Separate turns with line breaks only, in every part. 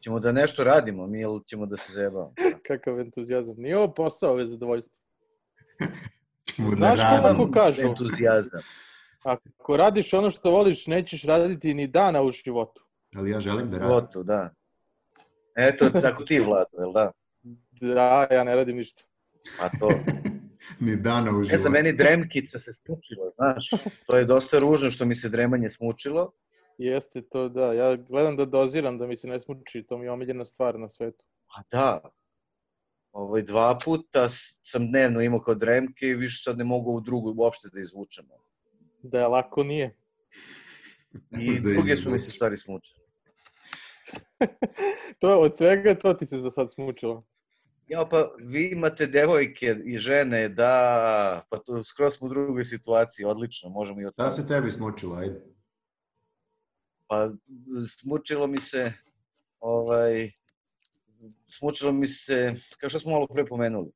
Ćemo da nešto radimo, mi ili ćemo da se zajebamo?
Kakav entuzijazam. Nije ovo posao, ovo je zadovoljstvo.
Ćemo da
Znaš
radimo.
kako kažu?
Entuzijazam.
Ako radiš ono što voliš, nećeš raditi ni dana u životu.
Ali ja želim da radim.
Lotu, da. Eto, tako ti, Vlado, jel da?
Da, ja ne radim ništa.
A to.
Ni dana u
Ne znam,
životu.
meni dremkica se smučila, znaš. To je dosta ružno što mi se dremanje smučilo.
Jeste to, da. Ja gledam da doziram, da mi se ne smuči. To mi je omiljena stvar na svetu.
Pa da. Ovaj, dva puta s- sam dnevno imao kao dremke i više sad ne mogu u drugu uopšte da izvučem.
Da je lako nije.
Ne
I
možeš da
druge su mi se
izvučeš.
stvari smučile.
To, od svega to ti se za sad smučilo.
Ja, pa vi imate devojke i žene, da, pa to skroz smo u drugoj situaciji, odlično, možemo i o
Šta
tome.
Da se tebi smučilo, ajde?
Pa smučilo mi se, ovaj, smučilo mi se, kao što smo malo pre pomenuli,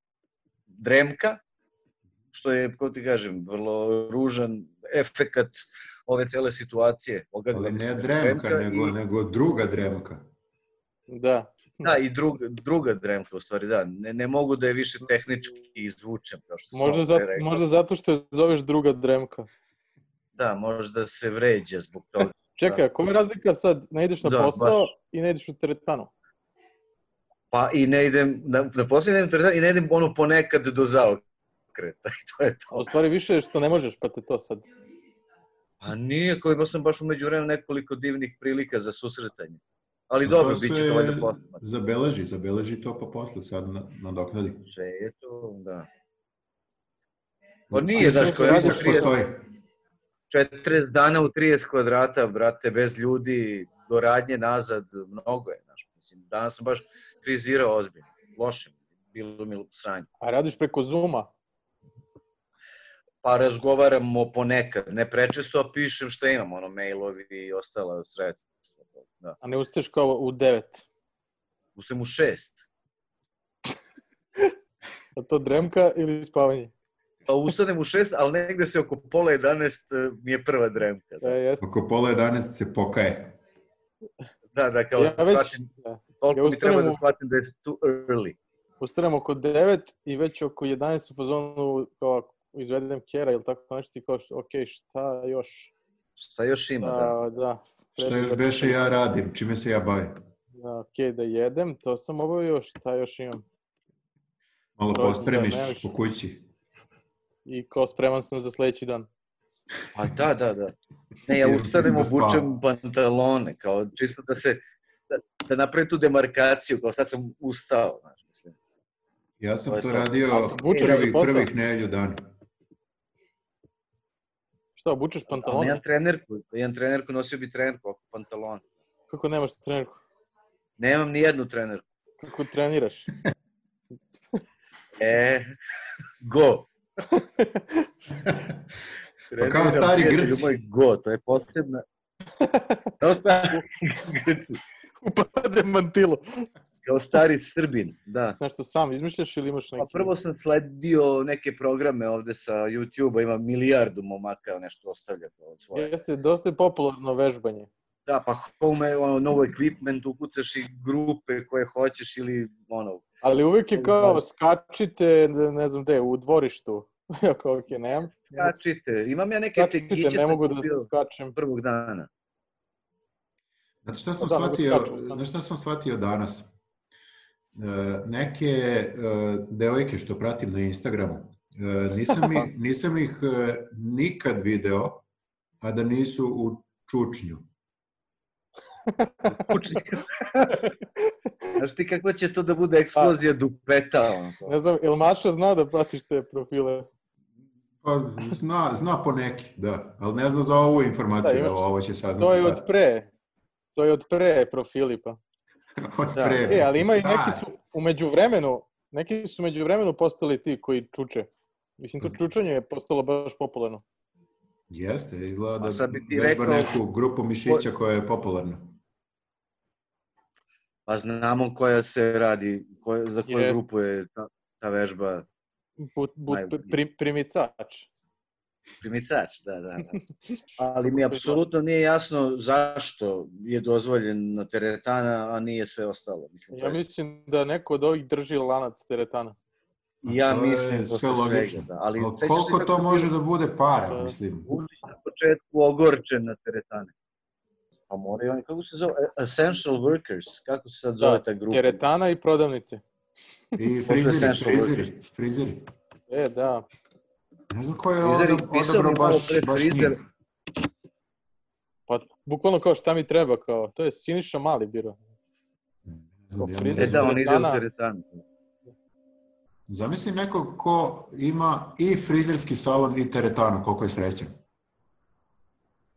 dremka, što je, kako ti kažem, vrlo ružan efekat ove cele situacije. Ogadila
Ali
mi se
ne dremka, nego,
i,
nego druga dremka.
Da.
Da, i druga, druga dremka, u stvari, da. Ne, ne mogu da je više tehnički izvučem, kao što sam
Možda,
malo pre
zato,
rekao.
možda zato što je zoveš druga dremka.
Da, možda se vređa zbog toga.
Čekaj, a koja je razlika sad? Ne ideš na
Da,
posao i ne ideš u teretanu.
Pa i ne idem, na, na posljednjem trenutak i ne idem ono ponekad do zaokreta. I to je
A
to.
u stvari više je što ne možeš, pa te to sad.
A nije, koji sam baš umeđu vremenu nekoliko divnih prilika za susretanje. Ali
Pa
dobro,
to
bit će
se
to valjda posma.
Zabeleži, zabeleži to pa posle sad na, nadoknadi.
Sve je to, da. Pa nije,
Spisak-
znaš, ko radiš
spisak postoji.
40 dana u 30 kvadrata, brate, bez ljudi, do radnje nazad, mnogo je, znaš. Mislim, danas sam baš krizirao ozbiljno, loše, mi je, bilo mi je sranje.
A radiš preko Zuma.
pa razgovaramo ponekad, ne prečesto, a pišem šta imam, ono, mailovi i ostala sredstva. Da.
A ne ustaješ kao u 9.
Usem u šest.
A to dremka ili spavanje?
Pa ustanem u šest, ali negde se oko pola 11 mi je prva dremka.
Da,
Da,
jeste.
Oko pola 11 se pokaje.
da, da kao
Ja
ja da
već
shvatim,
da,
toliko
ja
mi treba
ustanem
da
u-
shvatim da je too early.
ustanem oko 9 i već oko 11 u fazonu kao ako izvedem kjera ili tako nešto i kao što, ok, šta još?
Šta još ima? Da.
A, da.
Šta
treba
još
da-
beše ja radim? Čime se ja bavim?
Da, ok, da jedem, to sam obavio, šta još imam?
Malo
To je- da,
pospremiš
nemaš.
po kući.
I kao spreman sam za sledeći dan.
Pa da, da, da. Ne, ja
Jer
ustanem,
mislim da spavam.
obučem pantalone, kao čisto da se, da, da napravim tu demarkaciju, kao sad sam ustao, znaš, mislim.
Ja
To
sam
je
to
to.
radio
A da se bučeš za
prvih,
posao?
prvih nedelju dana.
Šta, obučeš
Ali
pantalone?
jedan trenerku, jedan trenerku nosio bi trenerku, ako pantalon.
Kako nemaš trenerku?
Nemam ni jednu trenerku.
Kako treniraš?
E, go.
Pa kao stari
Treniram prijatelju
Grci.
moj Go, to je posebna... Kao stari Grci.
Upade mantilo.
Kao stari Srbin, da.
Znaš što sam izmišljaš ili imaš neki?
Pa prvo sam sledio neke programe ovde sa YouTube-a, ima milijardu momaka, nešto ostavlja od svoje.
Jeste, dosta je popularno vežbanje.
Da, pa home, ono, novo equipment, ukucaš i grupe koje hoćeš ili ono,
Ali uvijek je
Da.
kao skačite, ne znam gde, u dvorištu. Ako ok, nemam.
skačite. da, Imam ja neke tegiće,
Skačite, ne
sam
mogu da
kupio
skačem.
prvog dana.
Znate šta sam
Da, mogu
shvatio,
skaču, znam.
znaš šta sam shvatio danas? E, neke e, devojke što pratim na Instagramu, e, nisam, ih, nisam ih e, nikad video, a da nisu u čučnju.
Znaš ti kako će to da bude eksplozija
Pa.
dupeta? ono?
Ne znam, jel Maša zna da pratiš te profile?
Pa, zna, zna po neki, da, ali ne zna za ovu informaciju,
Da, imaš-
da, evo, ovo će saznati
To je od
sad.
pre. To je od pre profili pa.
od
Da.
pre.
E, ali ima i neki
Da,
su umeđu vremenu, neki su umeđu vremenu postali ti koji čuče. Mislim,
Mm.
to čučanje je postalo baš popularno.
Jeste, izgleda da
A sad bi ti
vežba
rekao-
neku grupu mišića koja je popularna.
Pa znamo koja se radi, koja, za koju
Jest.
grupu je ta, ta vežba.
But, but,
Najbolje.
pri, primicač.
Primicač, da, da. da. Ali
da.
mi apsolutno nije jasno zašto je dozvoljen na teretana, a nije sve ostalo. Mislim, to
Ja
je-
mislim da neko od ovih drži lanac teretana.
ja
To je
mislim posle
sve logično.
svega. Da. Ali,
Ali
sećaš se
koliko
kako
to
je
može
bio
da bude para,
Da.
mislim?
Vučić na početku ogorčen na teretane? Pa moraju oni, kako se zove? Essential Workers, kako se sad
Da,
zove ta grupa?
Teretana i prodavnice.
I
Posle
frizeri,
Central
frizeri, frizeri.
E, da.
Ne znam ko je
Frizer ih
odab-
pisao
odabrao
mi malo
baš,
pre
baš
frizer.
njih.
Pa, bukvalno kao šta mi treba, kao, to je Siniša Mali biro.
Ne znam,
Kao
ja ne
E
frizer.
da,
znam.
on ide u
Teretana.
teretanu.
Zamisli nekog ko ima i frizerski salon i teretanu, koliko je srećan.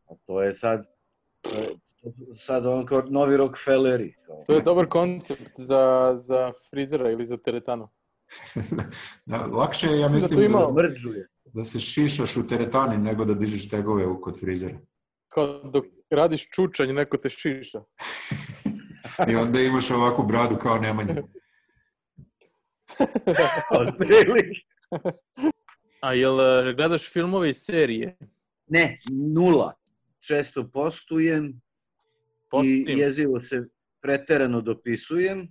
A to je sad, to je- sad on kao novi Rockefelleri. Kao.
To je dobar koncept za, za frizera ili za teretanu.
Da, Lakše je, ja
Mislim da
mislim,
tu
da,
ima-
da,
Mrđuje.
se šišaš u teretani nego da dižeš tegove u- kod frizera.
Kao dok radiš čučanje, neko te šiša.
I onda imaš ovakvu bradu kao Nemanja.
Otprilike.
A jel e, gledaš filmove i serije?
Ne, nula. Često postujem i
Postim.
jezivo se preterano dopisujem.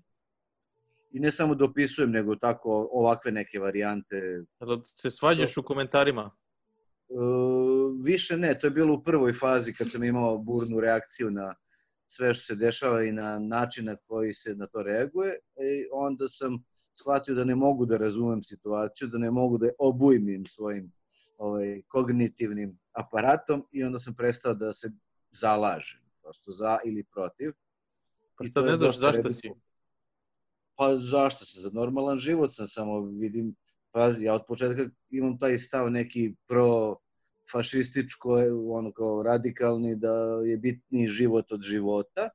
I ne samo dopisujem, nego tako ovakve neke varijante. E,
Jel se svađaš u komentarima?
više ne, to je bilo u prvoj fazi kad sam imao burnu reakciju na sve što se dešava i na način na koji se na to reaguje. I onda sam shvatio da ne mogu da razumem situaciju, da ne mogu da je obujmim svojim ovaj, kognitivnim aparatom i onda sam prestao da se zalažem, prosto za ili protiv.
Pa
I
sad
to je
ne znaš
dosta
zašto
redko.
si.
Pa zašto se? Za normalan život sam samo vidim, pazi, ja od početka imam taj stav neki pro fašističko, ono kao radikalni, da je bitniji život od života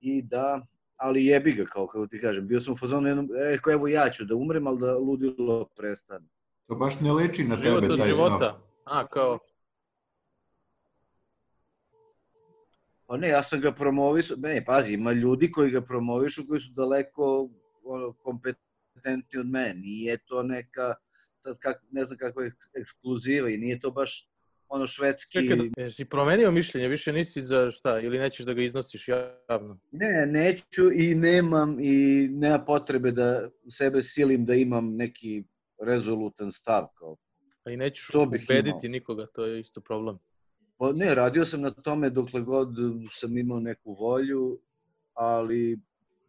i da, ali jebi ga, kao kako ti kažem, bio sam u fazonu jednom, rekao evo ja ću da umrem, ali da ludilo prestane.
To baš ne liči na
Život
tebe
od
taj stav.
života. A, kao,
Pa ne, ja sam ga promovisao, ne, pazi, ima ljudi koji ga promovišu koji su daleko ono, kompetentni od mene. Nije to neka, sad kak, ne znam kakva je ekskluziva i nije to baš ono švedski...
čekaj, da- jesi promenio mišljenje, više nisi za šta, ili nećeš da ga iznosiš javno?
Ne, neću i nemam i nema potrebe da sebe silim da imam neki rezolutan stav. Kao.
A i nećeš
To bih
ubediti nikoga, to je isto problem.
Pa ne, radio sam na tome dokle god sam imao neku volju, ali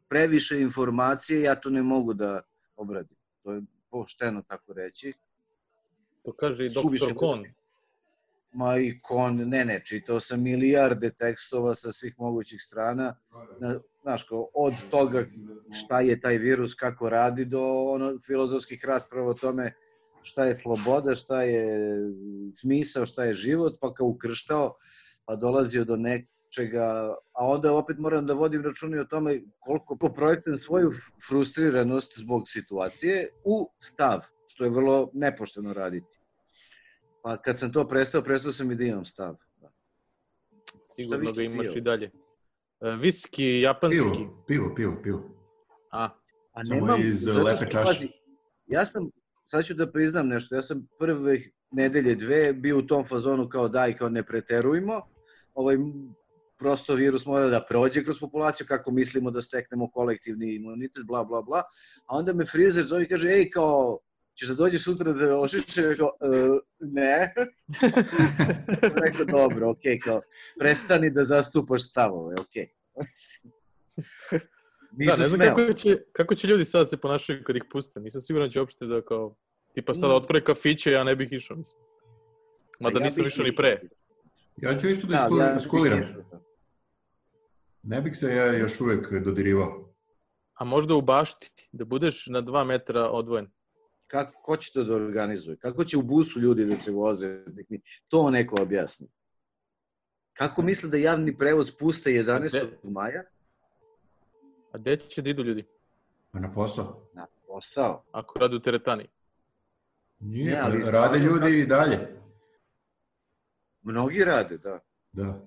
previše informacije ja to ne mogu da obradim. To je pošteno tako reći.
To kaže i
Suviše
doktor Kon.
Ma i kon, ne, ne, čitao sam milijarde tekstova sa svih mogućih strana, na, znaš, kao, od toga šta je taj virus, kako radi, do ono, filozofskih rasprava o tome šta je sloboda, šta je smisao, šta je život, pa kao ukrštao, pa dolazio do nečega, a onda opet moram da vodim računa i o tome koliko poprojektujem svoju frustriranost zbog situacije u stav, što je vrlo nepošteno raditi. Pa kad sam to prestao, prestao sam i da imam stav.
Sigurno
više
ga imaš
pivo?
i dalje. E, Viski, japanski.
Pivo, pivo, pivo, pivo.
A,
A
Samo
nemam,
iz
zato
uh,
što,
lepe čaše.
pazi, ja sam, sad ću da priznam nešto, ja sam prve nedelje, dve bio u tom fazonu kao daj, kao ne preterujmo, ovaj m, prosto virus mora da prođe kroz populaciju, kako mislimo da steknemo kolektivni imunitet, bla, bla, bla. A onda me frizer zove i kaže, ej, kao, ćeš da dođeš sutra da ošiče? Ja kao, e, ne. Rekao, dobro, okej, kao, prestani da zastupaš stavove, okej.
da,
Da,
Nisam
ne znam
smeo.
kako će, kako će ljudi sad da se ponašaju kad ih puste. Nisam siguran će uopšte da kao, tipa sad
Mm.
otvore kafiće, ja ne bih išao. mislim. Mada
Pa ja
da nisam
bih
išao ni
išao.
pre.
Ja ću isto da,
Da,
iskul-
ja bih
iskuliram.
išao.
Ne bih se ja još uvek dodirivao.
A možda u bašti, da budeš na dva metra odvojen.
kako, ko će to da organizuje? Kako će u busu ljudi da se voze? Nek mi To neko objasni. Kako misle da javni prevoz puste 11. maja?
A gde će da idu ljudi?
A na posao?
Na posao.
Ako rade u teretani.
Nije,
Ne, ali
rade
stvarno kako-
ljudi i dalje.
Mnogi rade, da.
Da.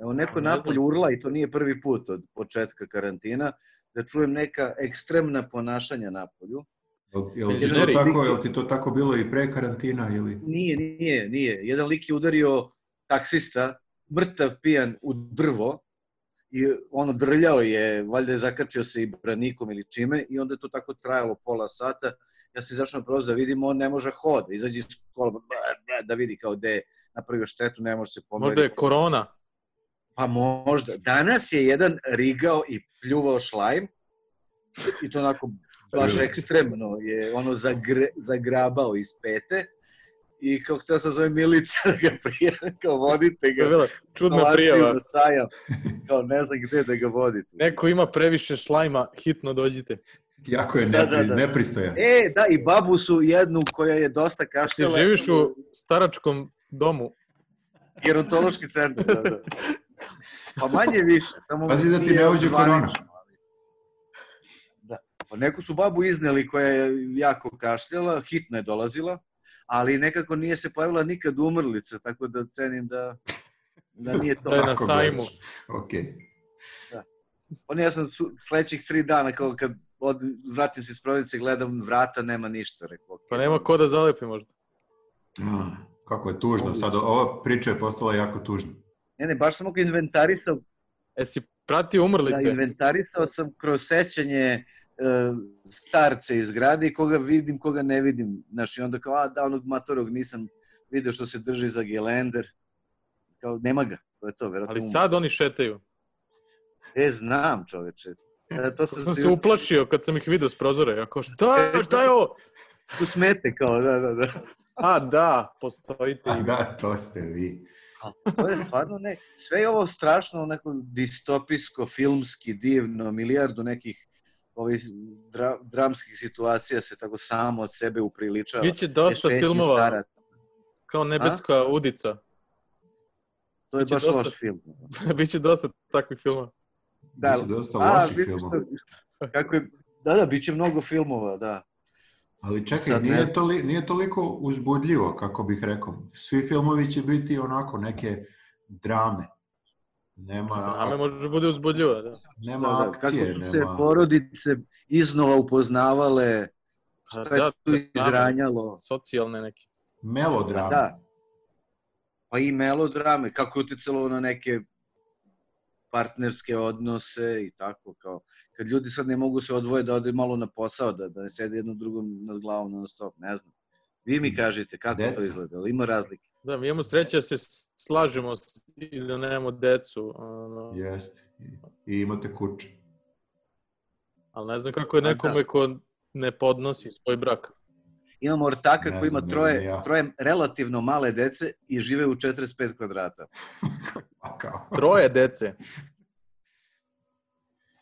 Evo, neko
Ne znam.
napolje urla i to nije prvi put od početka karantina, da čujem neka ekstremna ponašanja napolju.
Jel- Jel ti, to
Penzioneri.
tako, jel ti to tako bilo i pre karantina ili?
Nije, nije, nije. Jedan lik je udario taksista, mrtav pijan u drvo i ono drljao je, valjda je zakačio se i branikom ili čime i onda je to tako trajalo pola sata. Ja sam izašao na prozor da vidim, on ne može hoda, izađe iz kola, ba, ba, da vidi kao da je napravio štetu, ne može se pomeriti.
Možda je korona.
Pa možda. Danas je jedan rigao i pljuvao šlajm i to onako baš ekstremno je ono zagre, zagrabao iz pete i kao htio sam zove Milica da ga prijavim, kao vodite
To je
ga
bila
na
čudna
akciju
prijava.
na sajam, kao ne znam gde da ga vodite.
Neko ima previše šlajma, hitno dođite.
Jako je
Da, da,
nepri-
da.
nepristojan.
E, da, i babu su jednu koja je dosta
Ti
kašljala.
živiš u staračkom domu.
Gerontološki centar, da, da. Pa manje više, samo...
Pazi da ti
nije
ne uđe
zvanično,
korona.
ali- Da. Pa neku su babu izneli koja je jako kašljala, hitno je dolazila, ali nekako nije se pojavila nikad umrlica, tako da cenim da, da nije to.
Da je na
Tako
sajmu.
gledaš. Okej.
Ono Pa ja sam su- sledećih tri dana, kao kad od, vratim se iz province, gledam vrata, nema ništa. Rekao,
Pa nema ko da zalepi možda.
A, Kako je tužno sad. Ova priča je postala jako tužna.
Ne, ne, baš sam ga inventarisao
E si pratio umrlice?
Da, inventarisao sam kroz sećanje e, starce iz grada i koga vidim, koga ne vidim. Znaš, i onda kao, a da, onog matorog nisam video što se drži za gelender. Kao, nema ga, to je to, verovatno.
Ali
umro.
sad oni šetaju.
E, znam, čoveče. E, to sam
Sam
se
se uplašio kad sam ih vidio s prozora. Ja kao, šta je, šta je ovo?
u smete, kao, da, da, da.
A, da, postojite.
A da, to ste vi.
To je stvarno ne, sve je ovo strašno onako distopijsko, filmski, divno, milijardu nekih ovih dra, dramskih situacija se tako samo od sebe upriličava.
Biće dosta
Rešenje
filmova,
staraca.
kao nebeska udica.
To je
Biće
baš
dosta-
loš film.
Biće dosta takvih filmova.
Da,
Biće Znači, dosta
a,
loših
vidiš
filmova.
što- Kako je, da, da, bit će mnogo filmova, da.
Ali čekaj,
Sad ne
nije,
znam.
toli, nije toliko uzbudljivo, kako bih rekao. Svi filmovi će biti onako neke drame. Nema,
Drame da može bude uzbudljiva, da.
nema
da, da.
akcije,
Kako su se
nema...
porodice iznova upoznavale,
A,
šta je
da,
tu
drame.
izranjalo.
Socijalne neke.
Melodrama.
Da. Pa i melodrame, kako je uticalo na neke partnerske odnose i tako kao kad ljudi sad ne mogu se odvoje da ode malo na posao da da ne sede jedno drugom nad glavom non stop ne znam vi mi kažete kako to
Deca.
izgleda ali ima razlike
Da, mi imamo sreće da se slažemo s- i da nemamo decu. Ono,
Jeste. I imate kuće.
ali ne znam kako je
Pa da.
nekome ko ne podnosi svoj brak.
imamo ortaka
Ne
koji ima
znam, ne
troje,
znam ja.
troje relativno male dece i žive u 45 kvadrata.
A kao?
Troje dece.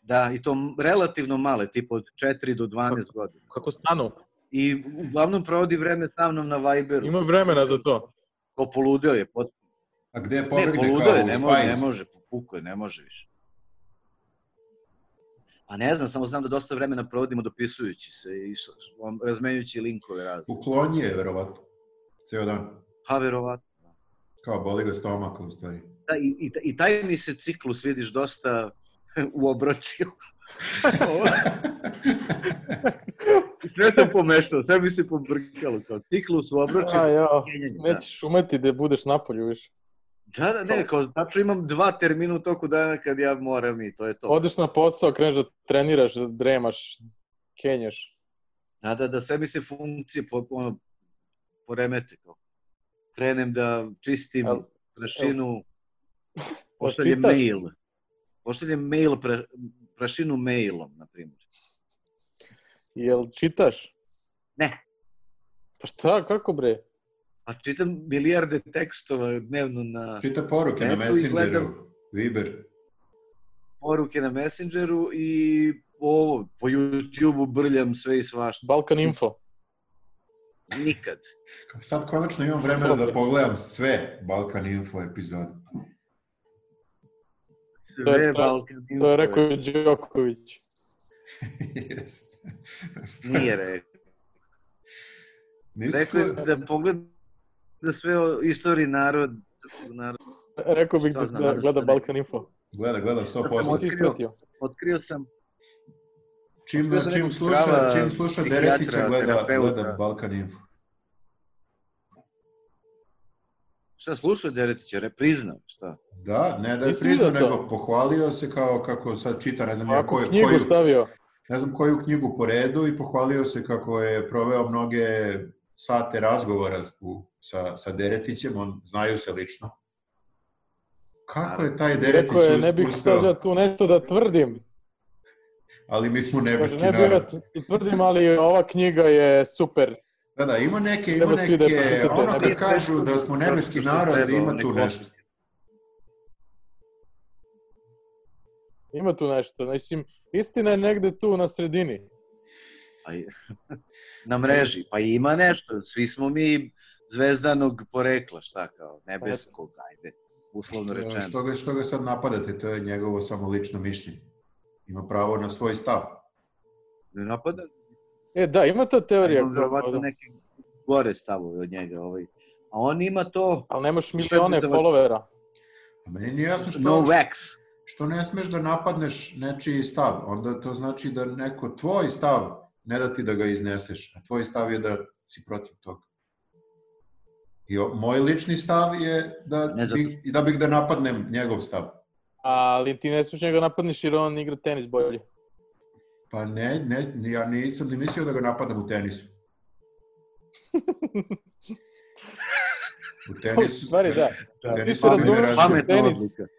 Da, i to m- relativno male, tipa od 4 do 12 godina.
Kako stanu?
I uglavnom provodi vreme sa mnom na Viberu.
Ima vremena za to.
Ko poludeo je, pot...
A gde
ne,
pobegne
poludeo
kao
je,
u
ne može,
Spice?
ne može, puko je, ne može više. Pa ne znam, samo znam da dosta vremena provodimo dopisujući se i s- on- razmenjujući linkove razne.
Uklonji je, verovatno. Ceo dan.
Pa verovatno.
Kao boli ga stomak, u stvari.
Da, i, i, i taj mi se ciklus, vidiš, dosta uobročio. I sve sam pomešao, sve mi se pobrkalo, kao ciklus u obročju.
A, jo,
menjanje, da.
nećeš umeti da budeš napolju više.
Da, da, ne, kao tačno imam dva termina u toku dana kad ja moram i to je to.
Odeš na posao, kreneš da treniraš, da dremaš, kenjaš.
Da, da, da, sve mi se funkcije po, ono, poremete, kao. Krenem da čistim
Al-
prašinu, pošaljem
čitaš?
mail. Pošaljem mail, pra, prašinu mailom, na primjer.
Jel čitaš?
Ne.
Pa šta, kako bre?
Pa čitam milijarde tekstova dnevno na
Čita poruke
Ne,
na
tu i
Messengeru.
gledam.
Viber.
poruke na Messengeru i ovo, po YouTube-u brljam sve i svašta.
Balkan Info.
Nikad.
Kao Sad konačno imam vremena da pogledam sve Balkan Info epizode.
To je-
Sve Balkan
To je
Info.
rekao i Đoković.
Jeste.
Nije rekao.
Nisam
Rekao je
slu-
da pogleda da sve o istoriji narod, narod.
Rekao bih
Šta
da,
znam,
da
nadam se da
gleda
ne.
Balkan Info.
Gleda, gleda
Da sam
Ovo
100%.
si ispratio.
Otkrio sam
Čim,
Otkrio sam
čim
nekog
sluša,
strava,
čim sluša
psihijatra,
Deretića, gleda,
terapeuta.
gleda Balkan Info.
Šta slušao Deretića? Ne priznam, šta?
Da, ne da je
Nisi
priznao,
vidio to?
nego pohvalio se kao kako sad čita, ne znam ja
Ovako
koju,
knjigu
koju,
stavio.
ne znam koju knjigu po redu i pohvalio se kako je proveo mnoge sate razgovora u, sa, sa Deretićem, on znaju se lično. Kako je taj Deretić
Rekao je, ne bih sad
uspio,
ja tu nešto da tvrdim.
ali mi smo
Kaže,
nebeski
ne bih ja
narod.
t- tvrdim, ali ova knjiga je super.
Da, da, ima neke, ima
Treba svi da
neke,
pročitate,
E, ono
ne
kad
bi-
kažu da smo nebeski
Zato što
narod,
treba
ima tu
neko-
nešto.
Ima tu nešto. Mislim, istina je negde tu na sredini.
A i- na mreži. Pa ima nešto. Svi smo mi zvezdanog porekla, šta kao, nebeskog, ajde, uslovno
Što,
rečeno.
što, ga, što ga sad napadate, to je njegovo samo lično mišljenje. Ima pravo na svoj stav.
Ne napada?
E, da, ima ta teorija.
Imam verovatno
kao-
neke gore stavove od njega. Ovaj. A on ima to
Ali nemaš
Šta je
milione
priznavac?
followera.
A meni nije jasno što,
no wax.
što ne smeš da napadneš nečiji stav. Onda to znači da neko tvoj stav ne da ti da ga izneseš, a tvoj stav je da si protiv toga. I o, moj lični stav je da,
Ne zato-
bih, i da bih da napadnem njegov stav.
Ali ti ne smiješ njega napadniš jer on igra tenis bolje.
Pa ne, ne, ni- ja nisam ni mislio da ga napadam u tenisu. U
U
tenisu,
stvari da.
Da.
Ti
Tenis
se
mali me
razumeš,
razvija.
Pametna
tenis.
odluka.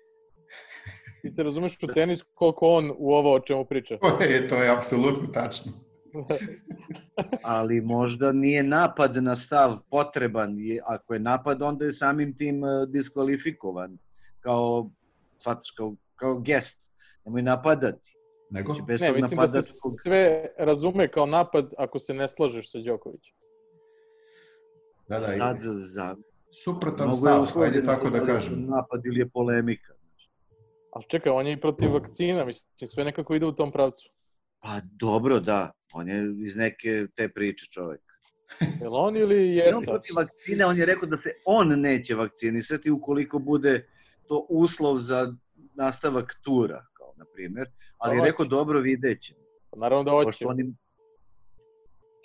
Ti se razumeš u tenis koliko on u ovo o čemu priča.
To je, to je apsolutno tačno.
ali možda nije napad na stav potreban. I Ako je napad, onda je samim tim e, diskvalifikovan. Kao, shvataš, kao, kao gest. Nemoj napadati.
Nego,
Znači, bez
Ne,
tog
mislim da se
napadačkog...
sve razume kao napad ako se ne slažeš sa Đokovićem.
da, da,
Sad,
sad,
za,
suprotan
mnogo je
stav,
uslovljeno
ajde tako da
li je
kažem.
Napad ili je polemika.
Ali čekaj, on je i protiv vakcina, mislim, sve nekako ide u tom pravcu.
Pa dobro, da. On je iz neke te priče čovek.
Jel on ili
Ne on
Jerca?
protiv vakcine, on je rekao da se on neće vakcinisati ukoliko bude to uslov za nastavak tura, kao na primjer. Ali je
Hoće.
rekao dobro videće.
Naravno da hoće.
Pošto oni,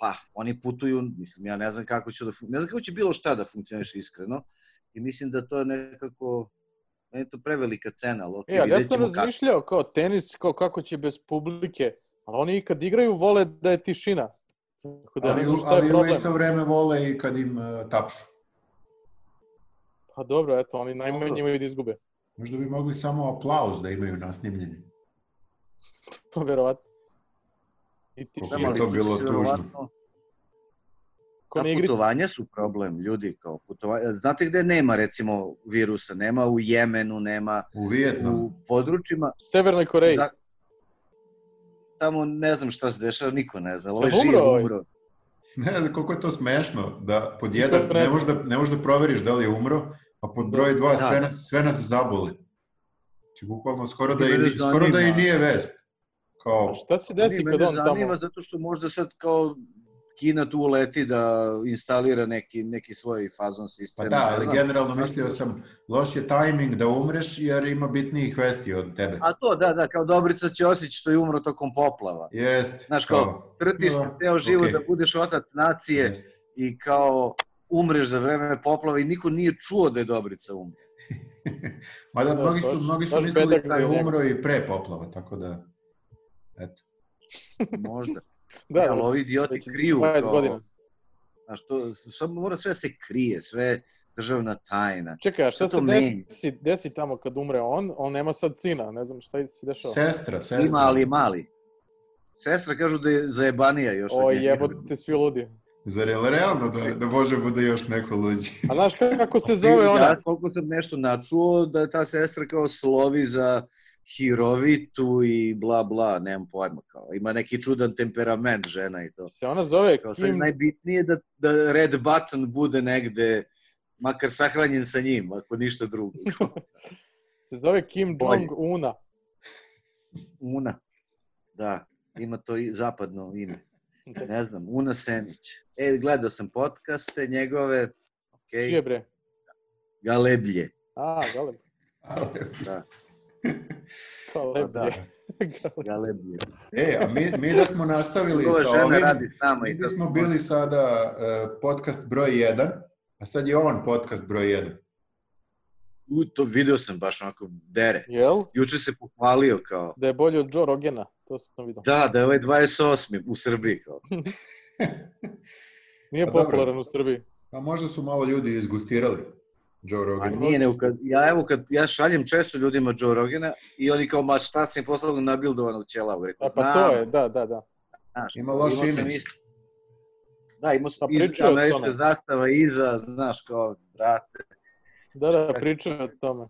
pa, oni putuju, mislim, ja ne znam kako će da fun- ne znam kako će bilo šta da funkcioniš iskreno. I mislim da to je nekako, meni je to prevelika cena, ali okay,
E, ali ja
vidjet
sam
ćemo kako.
razmišljao kao tenis, kao kako će bez publike, ali oni kad igraju vole da je tišina. Tako da ne
Ali,
znam
u-
šta je
ali u
problem.
isto vreme vole i kad im uh, tapšu.
Pa dobro, eto, oni najmanje
Dobro.
imaju da izgube.
Možda bi mogli samo aplauz da imaju nasnimljeni.
Pa verovatno. I ti
Koliko
Znam,
je
ali
to
će
bilo
se
tužno.
verovatno-
ko
Ta
ne igrica.
Da, putovanja su problem, ljudi, kao putovanja. Znate gde nema, recimo, virusa? Nema u Jemenu, nema
U Vijetnamu.
u
Da.
područjima.
Severnoj Koreji.
Za- Tamo ne znam šta se dešava, niko ne zna. Ovo je
Jel umro
živ,
ovaj?
umro.
Ne, ali koliko je to smešno da pod jedan
Nikako ne
ne
znam.
možeš da, ne možeš da proveriš da li je umro, a pod broj dva
Da.
sve, nas, sve nas zaboli. Znači, bukvalno skoro da,
Mene
i,
zanima.
skoro da i nije vest. Kao,
A šta se desi
Ali
kad
mene
on
zanima
tamo...
zato što možda sad kao Kina tu uleti da instalira neki, neki svoj fazon
pa
sistem.
da,
ne
ali
znam.
generalno mislio sam, loš je tajming da umreš jer ima bitnijih vesti od tebe.
A to, da, da, kao Dobrica Ćosić što je umro tokom poplava.
Jest.
Znaš kao, Trtiš se
Da,
ceo život
okej.
da budeš otac nacije
jest.
i kao umreš za vreme poplava i niko nije čuo da je Dobrica umro.
Mada
Da,
mnogi su,
baš-
mnogi su
baš
mislili
bedak
da je
za njega.
umro i pre poplava, tako da...
Možda.
Da,
ali
da,
ovi idioti
već
kriju.
20
kao,
godina.
Znaš, to, sad mora sve se krije, sve državna tajna.
Čekaj, a šta
Šta
se
to meni?
desi, desi tamo kad umre on? On nema sad sina, ne znam šta se dešava.
Sestra, sestra.
Ima, ali je mali. Sestra kažu da je zajebanija još. od
O
njega.
jebote, svi ludi.
Zar je realno da, da Bože bude još neko luđi?
A znaš kako se zove ona?
Ja, koliko sam nešto načuo, da je ta sestra kao slovi za hirovitu i bla bla, nemam pojma. Kao. Ima neki čudan temperament žena i to.
Se ona zove
Kao sad je
Kim...
najbitnije da, da Red Button bude negde, makar sahranjen sa njim, ako ništa drugo.
Se zove Kim
Bolje.
Jong-una.
Una. Da, ima to i zapadno ime. Ne znam, Una Senić. E, gledao sam podcaste njegove,
Čije je
okej,
bre?
galeblje.
A, galeb.
Ali-
Da.
Kao
Pa da.
leblje.
Galebije.
E, a mi, mi da smo nastavili
Njegova
sa
žena
ovim,
radi s nama.
mi
i da
bismo bili sada e, podcast broj 1, a sad je on podcast broj 1.
U, to video sam baš onako, dere.
Jel?
Juče se pohvalio kao,
Da je bolji od Joe Rogena, to sam vidio.
da, da je ovaj 28. u Srbiji kao.
Nije
Pa dobro.
popularan u Srbiji.
Pa možda su malo ljudi izgustirali Joe
A
Rogan.
nije, nego kad, ja evo kad, ja šaljem često ljudima Joe Rogana i oni kao, ma šta sam im poslao nabildovanog ćelava,
A
rekao,
pa
znam,
to je, da, da, da.
Ima loš
imao sam
imidž.
isto. Da, imao sam
Pa
iz
pričao je o
američka
tome.
zastava iza, znaš, kao, brate.
Da, da, pričaju o tome.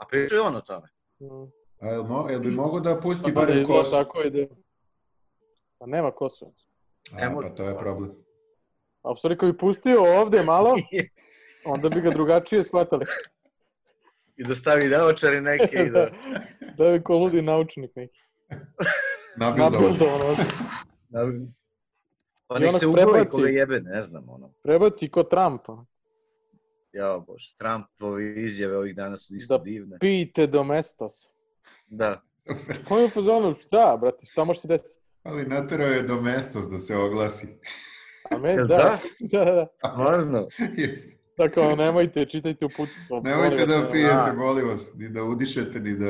A pričao je on o tome.
Mm.
A jel, mo, jel bi mogao da pusti
Pa da
barem
izgleda
kosu?
tako ide. Pa nema kosu.
Ne
A,
može.
pa to je problem.
A u stvari kad bi pustio ovde malo, onda bi ga drugačije shvatali.
I da stavi naočare neke i da...
Da bi ko ludi naučnik neki.
Nabildovan.
Nabildovan ovde.
Pa
I
nek
ono
se ugovi
prebaci.
koga jebe, ne znam, ono.
Prebaci ko Trumpa.
Jao bože, Trumpove izjave ovih dana su isto
Da.
divne.
Pijte do mestos.
Da.
On je u fazonu, šta, brate, šta može se desiti?
Ali naterao je do mestos da se oglasi.
A me,
Jel
da, da, da.
Stvarno.
Jeste.
Tako, nemojte, čitajte uputstvo.
Nemojte
molim vas,
da
ne.
pijete,
Da.
molim vas, ni da udišete, ni da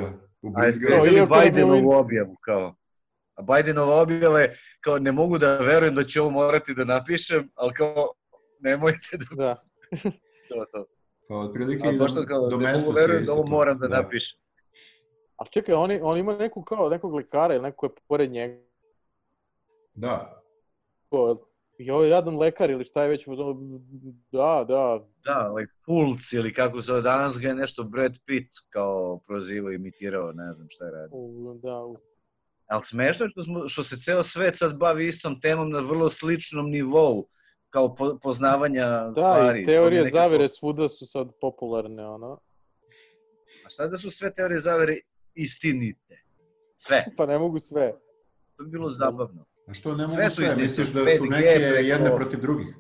A jeste
Evo,
ubrizgavate.
vidjeli
iako nam je
Bidenovu
Win-
objavu, kao. A Bidenova objava je, kao, ne mogu da verujem da ću ovo morati da napišem, ali kao, nemojte da
Da.
to, to.
Pa otprilike
Ali
i
baš to kao,
do, do
ne mogu
mestos
verujem
je
da
isto
ovo
to.
moram da, napišem.
A čekaj, oni, on ima neku kao, nekog lekara ili neko je pored njega.
Da.
I ovo je jadan lekar ili šta je već, u fazonu, da, da,
Da, ovaj Pulc ili kako se zove, danas ga je nešto Brad Pitt kao prozivao, imitirao, ne znam šta je radio.
u, da, u,
Ali smešno je što, smo, što se ceo svet sad bavi istom temom na vrlo sličnom nivou, kao po, poznavanja
da,
stvari.
i
To mi je
teorije
nekako-
zavere svuda su sad popularne, ono.
A sada su sve teorije zavere istinite. Sve.
Pa ne mogu sve.
To bi
Da.
bilo zabavno.
A što ne mogu
Sve
sve?
su istinite,
Misliš da su
5G
neke
preko-
jedne protiv drugih?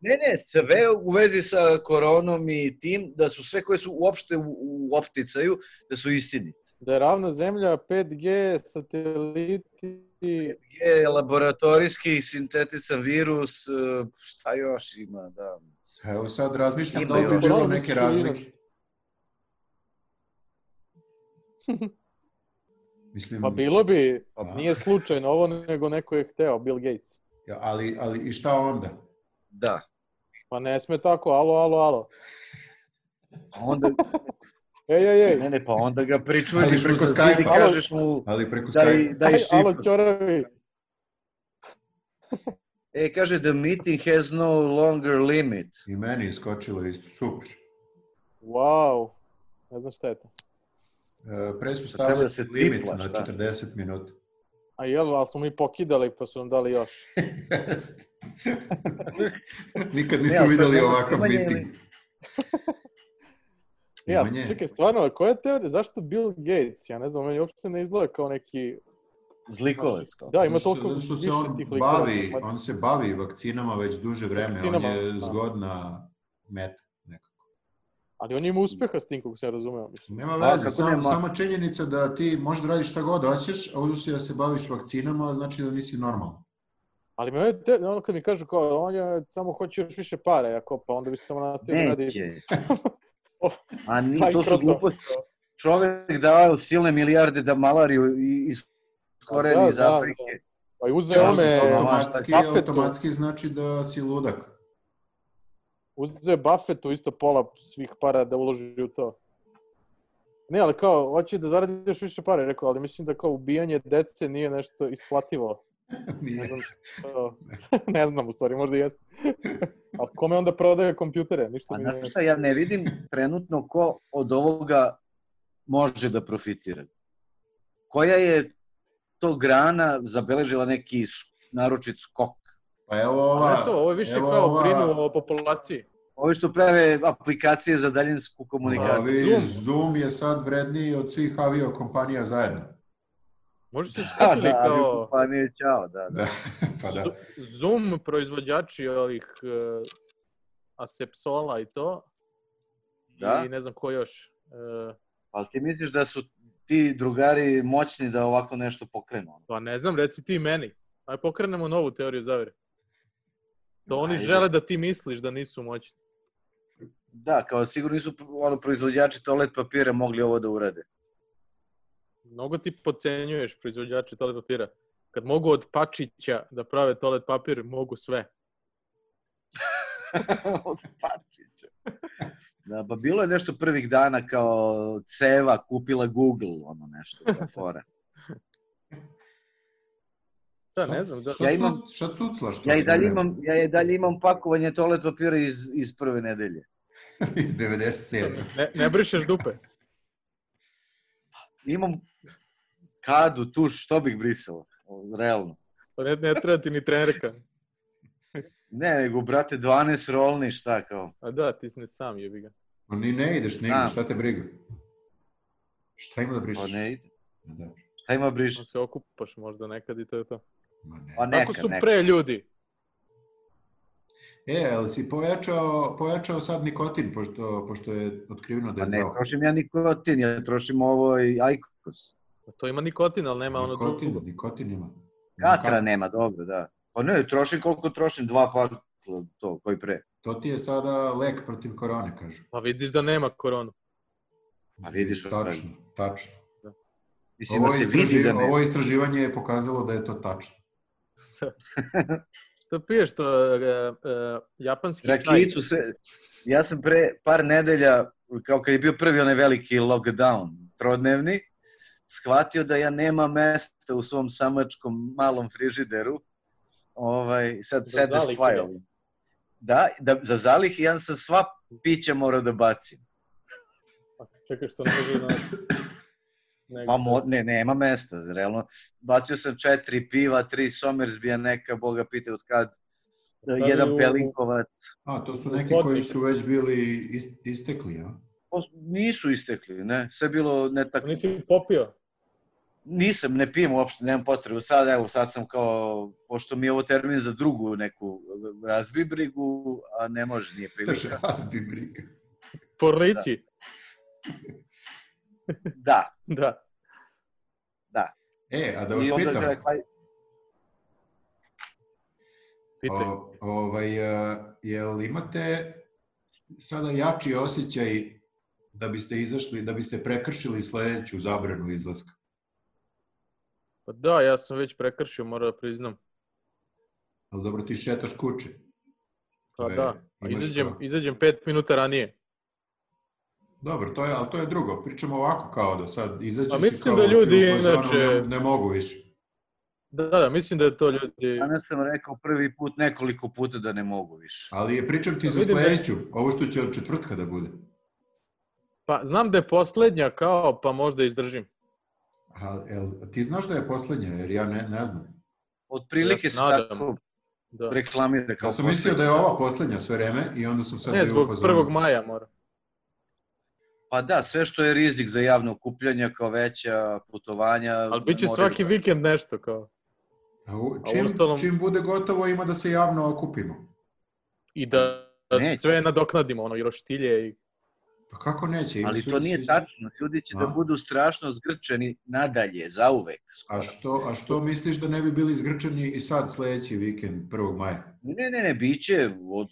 Ne, ne, sve u vezi sa koronom i tim, da su sve koje su uopšte u, u opticaju, da su istinite.
Da je ravna zemlja, 5G, sateliti,
Je laboratorijski sintetisan virus, e, šta još ima, da.
Pa Evo sad razmišljam
Ima
da li
još.
bi bilo
Koronu
neke
su
razlike.
inače.
Mislim,
pa bilo bi,
Pa
nije slučajno ovo, nego neko je hteo, Bill Gates.
ali, ali i šta onda?
Da.
Pa ne sme tako, alo, alo, alo.
A Onda,
Ej, ej, ej.
ne, ne, pa onda ga pričuješ
Ali
mu sa
preko Skype-a.
zidi, kažeš mu da
Ali preko
daj,
Skype.
daj
Aj,
šifru.
Alo, čoravi.
E, kaže, the meeting has no longer limit.
I meni je skočilo isto, super.
Wow. Ne znam šta je to.
E, Pre su
Pa treba
stavili
da se
limit
tipla,
na
šta?
40 minuta.
A jel, ali smo mi pokidali pa su nam dali još.
Jeste. Nikad
Ne,
nisu
ali sad
videli
možda
ovakav
snimanje
meeting.
Ja,
Snimanje?
čekaj, stvarno, ali koja je teorija? Zašto Bill Gates? Ja ne znam, meni uopšte ne izgleda kao neki...
Zlikovac, kao.
Da, ima
Zato što-
toliko
zato što se
više
on
tih likova.
bavi,
Ma-
on se bavi vakcinama već duže vreme,
Vakcinama,
on je
da.
zgodna meta. nekako.
Ali on ima uspeha s tim, kako sam razumeo. Mislim.
Nema
Pa,
veze,
kako
samo,
nema?
samo činjenica da ti možeš da radiš šta god hoćeš, a uzu si da se baviš vakcinama, znači da nisi normalan.
Ali me ovdje, ono kad mi kažu kao, on je, samo hoće još više para, jako, pa onda bi se samo nastavio da radi... Oh, pa
Neće. A ni, to su
Microsoft.
gluposti. Čovek dao silne milijarde da malariju i- iz
Da,
koreni iz
da,
Afrike.
Pa i uzeo
Kažu
ome,
se ono-
automatski,
Buffettu.
automatski znači da si ludak.
uzeo je Buffettu isto pola svih para da uloži u to. Ne, ali kao, hoće da zaradi još više para, rekao, ali mislim da kao ubijanje dece nije nešto isplativo. Ne
Nije.
znam što... ne znam, u stvari, možda jeste. ali kome onda prodaje kompjutere? Ništa
A
mi
znaš
ne...
šta, ja ne vidim trenutno ko od ovoga može da profitira. Koja je to grana zabeležila neki sk- naročit skok?
Pa evo ova...
Ali eto, ovo je više
evo
kao
ova-
brinu o populaciji.
Ovi što prave aplikacije za daljinsku komunikaciju.
Ovi, Zoom.
Zoom.
je sad vredniji od svih aviokompanija zajedno.
Možda se
Da,
skupili
da, ali
kao
kompanije, čao, da, da.
Da, pa da.
Zo- Zoom proizvođači ovih uh, Asepsola i to.
Da?
I ne znam ko još. Uh,
Ali ti Da? misliš da su ti drugari moćni da ovako nešto pokrenu. ono.
Pa ne znam, reci ti meni. Aj pokrenemo novu teoriju zavere. To oni
Ajde.
žele da ti misliš da nisu moćni.
Da, kao sigurno nisu ono, proizvođači toalet papira mogli ovo da urade.
Mnogo ti podcenjuješ proizvođače toalet papira. Kad mogu od pačića da prave toalet papir, mogu sve.
Od Pačića. Da, pa bilo je nešto prvih dana kao ceva kupila Google, ono nešto, ta fora.
Da, ne znam. Da.
Šta,
Ja
ja
imam-
šta cuclaš? to
Ja i
sve
dalje
vreme?
imam, ja i dalje imam pakovanje toalet papira iz, iz prve nedelje.
Iz 97.
Ne, ne brišeš dupe.
Imam kadu, tuš, što bih brisao, realno.
Pa Ne, ne treba ti ni trenerka.
Ne, nego, brate, 12 rolni, šta kao.
A da, ti si ne sam jebi ga.
Ma Ni ne ideš nigdje,
Znam.
šta te briga? Šta ima da brišeš?
Pa ne ide.
Ma da,
Šta ima briš?
Ono se okupaš možda nekad i to je to.
ma ne.
Pa ne.
Tako
Neka,
su
neka.
pre ljudi.
E, ali si pojačao, pojačao sad nikotin, pošto, pošto je otkriveno da
Pa
je
ne,
zdravo.
trošim ja nikotin, ja trošim ovo i ajkos.
Pa To ima nikotin, ali nema ono
nikotin,
drugo.
nikotin ima.
Katra
Nikotin.
nema, dobro, da. Pa ne, trošim koliko trošim, dva pakla, to, koji pre.
To ti je sada lek protiv korone, kažu.
Pa vidiš da nema koronu.
A vidiš što
Tačno, tačno.
Mislim,
Ovo,
da se vidi
istraži,
da ne.
ovo istraživanje je pokazalo da je to tačno.
Šta piješ to? e, e, japanski čaj.
Rakijicu se... Ja sam pre par nedelja, kao kad je bio prvi onaj veliki lockdown, trodnevni, shvatio da ja nema mesta u svom samačkom malom frižideru. Ovaj, sad
Za
sad
zalihe.
stvari. Da, da, za zalih ja sam sva pića morao da bacim.
Pa, Čekaj što ne može na... Nego-
Ma mo, ne, nema mesta, realno. Bacio sam četiri piva, tri somersbija neka, boga pite od kad,
Stavio
jedan
u-
pelinkovac.
A, to su neki
Potpis.
koji su već bili ist- istekli, a?
Pa, Nisu istekli, ne. Sve je bilo ne tako.
Pa Nisi popio.
Nisam, ne pijem uopšte, nemam potrebu. Sad, evo, sad sam kao, pošto mi je ovo termin za drugu neku razbibrigu, a ne može, nije prilika.
Razbi briga.
Porlići.
Da,
Da.
E, a da vas
i onda pa,
pitam,
kada kaj-
Pitaj.
o, ovaj, a, jel imate sada jači osjećaj da biste izašli, da biste prekršili sledeću zabranu izlaska?
Pa da, ja sam već prekršio, moram da priznam.
Ali dobro, ti šetaš kuće.
Pa
To je-
da. A
imaš
izađem,
to.
izađem pet minuta ranije.
Dobro, to je, ali to je drugo. Pričamo ovako kao da sad izađeš
A
i
mislim
kao
da
si u
ljudi
fazonu,
inače-
Ne, ne mogu više.
Da, da, mislim da je to ljudi...
Danas sam rekao prvi put, nekoliko puta da ne mogu više.
Ali je pričam ti
Pa
za
vidim da-
sledeću, ovo što će od četvrtka da bude.
Pa znam da je poslednja kao, pa možda izdržim.
A, el, ti znaš da je poslednja, jer ja ne, ne znam.
Od prilike
Ja
se
se nadam.
tako
Da.
reklamira. Kao
Ja sam mislio da je ova poslednja sve vreme i onda sam sad
Ne,
bio u
zbog
fazonu.
1. maja mora.
Pa da, sve što je rizik za javno okupljanje, kao veća putovanja... da
Ali bit će
moraju-
svaki vikend nešto kao.
A u-
A
Čim,
uostalom-
čim bude gotovo ima da se javno okupimo.
I da, da
Neće.
sve nadoknadimo, ono, i roštilje i...
Pa kako neće? Ima
Ali
svi-
to nije
svi-
tačno, ljudi će da
A.
budu strašno zgrčeni nadalje, zauvek.
A što, a što misliš da ne bi bili izgrčani i sad sledeći vikend, 1. maja?
Ne, ne, ne, bit će od,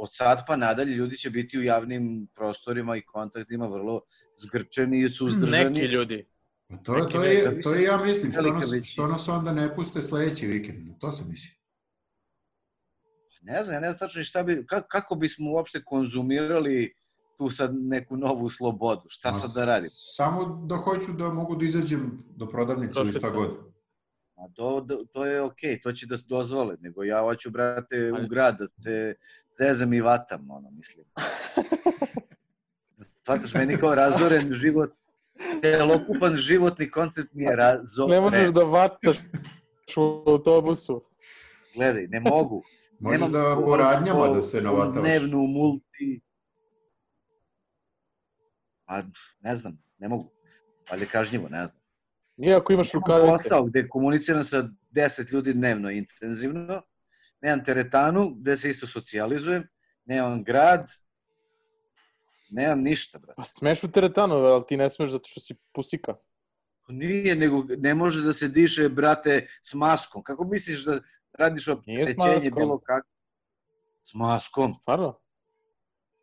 od sad pa nadalje ljudi će biti u javnim prostorima i kontaktima vrlo zgrčeni i suzdržani.
Neki ljudi.
Pa to, je-
Neki
to, je,
velika-
to je ja mislim, što
velika
nas,
većina.
što nas onda ne puste sledeći vikend, to sam mislio.
Ne znam, ja ne znam tačno ni šta bi, kako, kako bismo uopšte konzumirali tu sad neku novu slobodu, šta
Ma
sad da radim?
Samo da hoću da mogu da izađem do prodavnice ili šta
Prošetam.
god.
A to, do- to je okej, to će da se dozvole, nego ja hoću, brate,
Ali-
u grad da se zezam i vatam, ono, mislim. Shvataš meni kao razoren život, celokupan životni koncept mi je razoren.
Ne možeš da vataš u autobusu.
Gledaj, ne mogu.
Možeš
Nemam
da
tu
po radnjama
ovu-
da se
ovu
navatavaš.
Dnevnu multi. A, ne znam, ne mogu. Ali je kažnjivo, ne znam.
Nije ako imaš
Imam
rukavice.
posao gde komuniciram sa 10 ljudi dnevno intenzivno. Nemam teretanu gde se isto socijalizujem. Nemam grad. Nemam ništa, brate.
Pa smeš u teretanove, ali ti ne smeš zato što si pusika.
Pa Nije, nego ne može da se diše, brate, s maskom. Kako misliš da radiš
Nije s
opterećenje
maskom.
bilo kako? S maskom.
Stvarno?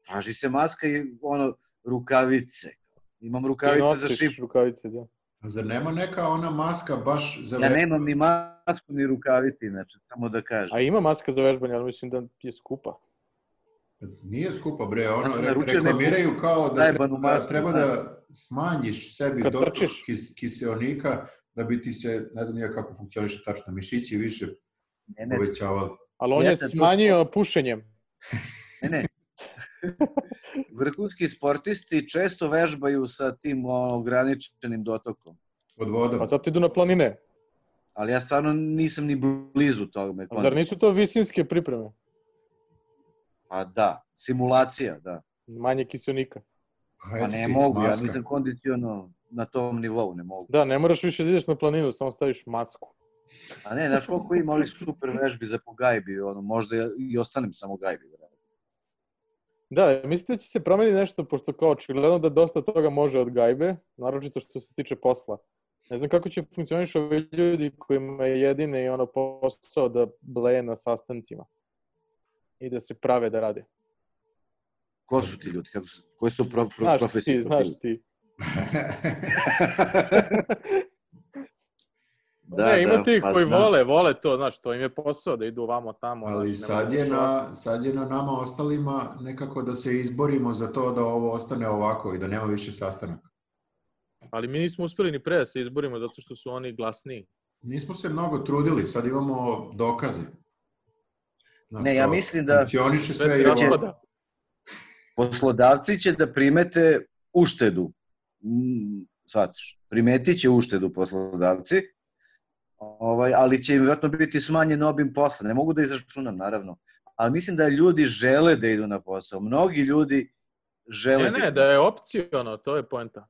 Traži se maska i ono, rukavice. Imam
Ti
rukavice za
nosiš
šip.
Rukavice, da.
A zar nema neka ona maska baš za...
Ja
ve-
nemam ni masku, ni rukavice, znači, samo da kažem.
A ima maska za vežbanje, ali mislim da je skupa.
Nije skupa, bre, ono,
Ja sam
re-
naručio
reklamiraju kao da
zajebanu
treba, da
masku,
treba
da.
da smanjiš sebi
Kad
dotok
trčiš.
kis, kiseonika da bi ti se, ne znam ja kako funkcioniše tačno, mišići više
Ne, ne,
povećavali.
Ali on je
Jeste, to-
smanjio pušenjem.
Ne, ne. Vrhunski sportisti često vežbaju sa tim ono, ograničenim dotokom.
Pod vodom.
Pa zato idu na planine.
Ali ja stvarno nisam ni blizu toga.
A zar nisu to visinske pripreme?
Pa da, simulacija, da.
Manje kiselnika.
Pa
eto
ne
ti,
mogu, ja
maska.
nisam kondiciono na tom nivou, ne mogu.
Da, ne moraš više da ideš na planinu, samo staviš masku.
A ne, znaš koliko ima ovih super vežbi za pogajbi, ono, možda ja i ostanem samo gajbi. brate.
Da, mislite da će se promeniti nešto, pošto kao očigledno da dosta toga može od gajbe, naročito što se tiče posla. Ne znam kako će funkcioniš ovi ljudi kojima je jedine i ono posao da bleje na sastancima i da se prave da rade.
Ko su ti ljudi? Kako su, koji su to pro, pro,
Znaš
profesije?
ti, znaš ti.
da,
ne, ima
da,
tih
pa
koji
znam.
vole, vole to, znaš, to im je posao da idu vamo tamo.
Ali
znaš, ne
sad je,
možeš ovako.
na, sad je na nama ostalima nekako da se izborimo za to da ovo ostane ovako i da nema više sastanaka.
Ali mi nismo uspeli ni pre da se izborimo zato što su oni glasniji.
Nismo se mnogo trudili, sad imamo dokaze. Znaš,
Ne, ja
kao,
mislim da-
Funkcioniše
Sve
sve
se
i ovako.
raspada.
poslodavci će da primete uštedu. Mm, Shvatiš, primetit će uštedu poslodavci, ovaj, ali će im vjerojatno biti smanjen obim posla. Ne mogu da izračunam, naravno. Ali mislim da ljudi žele da idu na posao. Mnogi ljudi žele
Ne,
da
ne,
idu.
da je opciono, to je poenta.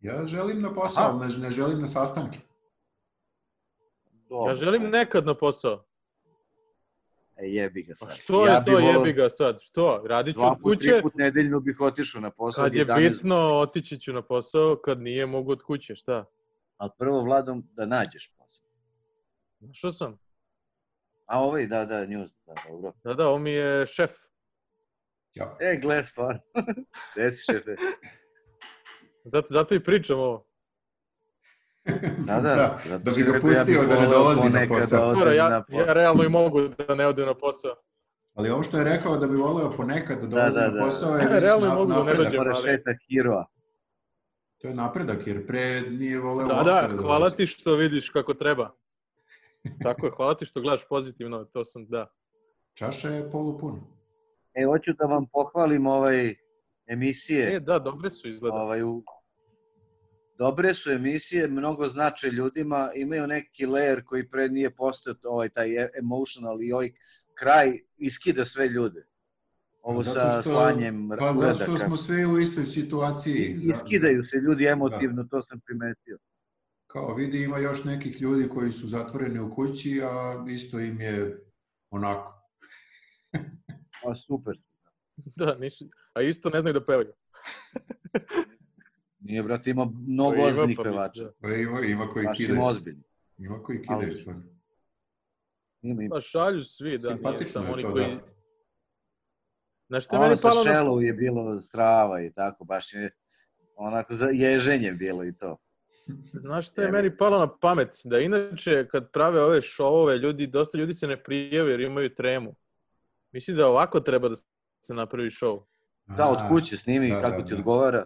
Ja želim na posao,
Aha.
ali ne, ne želim na sastanke.
Dobro.
Ja želim nekad na posao.
E, jebi ga
Pa
sad.
što
Ja
je
bi
to
volao
jebi ga sad? Što? Radit ću
Dva
od
put, tri
kuće,
put nedeljno bih otišao na posao.
kad je
11
bitno otići ću na posao, kad nije mogu od kuće, šta?
Ali prvo vladom da nađeš posao.
Našao sam.
A ovaj, da, da, news, da, dobro.
Da, da, on mi je šef.
Ja.
E, gle, stvarno. Desi šefe.
Zato, zato i pričam ovo.
Da, da.
Da,
zato
da bi
sam
ga
rekao, ja
pustio
bih
da ne
voleo
dolazi na
ponekad
posao.
da odem
Dobro,
na
ja,
posao.
ja realno i mogu da ne odem na posao.
Ali ovo što je rekao da bi voleo ponekad da dolazi
da,
na
da.
posao je već
Realno
na-
mogu da ne
napredak.
dođem.
Moraš
ali-
šetak heroa.
To je napredak jer pre nije voleo
Da,
uopšte
da, hvala
dolazi.
ti što vidiš kako treba. Tako je, hvala ti što gledaš pozitivno, to sam, da.
Čaša je polupuna.
E, hoću da vam pohvalim ovaj emisije.
E, da, dobre su izgleda.
ovaj, u... Dobre su emisije, mnogo znače ljudima, imaju neki layer koji pre nije postao ovaj, taj e- emotional i ovaj kraj iskida sve ljude. Ovo
Pa Zato
sa
što-
slanjem
Pa zato što
uradaka.
smo svi u istoj situaciji.
I- Iskidaju se ljudi emotivno, to sam primetio.
Kao vidi ima još nekih ljudi koji su zatvoreni u kući, a isto im je onako.
O, super.
Da, nisu, a isto ne znaju da pevaju.
Nije, brate, ima mnogo
Ima,
ozbiljnih
pa mislim,
pevača.
da.
E, Ima, ima koji
Baš
kidaju.
ima ozbiljnih.
Ima koji
Ali-
kidaju stvarno.
Ima, ima.
Pa šalju svi, da, nije
Simpatično
samo
je
oni
to,
koji...
da.
Znaš šta Pa, je
Ono
meni
sa
palo na
Shallow je bilo strava i tako, baš je onako za ježenje bilo i to.
Znaš šta je
Jebi.
meni palo na pamet? Da inače kad prave ove šovove, ljudi, dosta ljudi se ne prijave jer imaju tremu. Mislim da ovako treba da se napravi šov.
Da, od kuće snimi
da,
kako
da,
ti
da.
odgovara.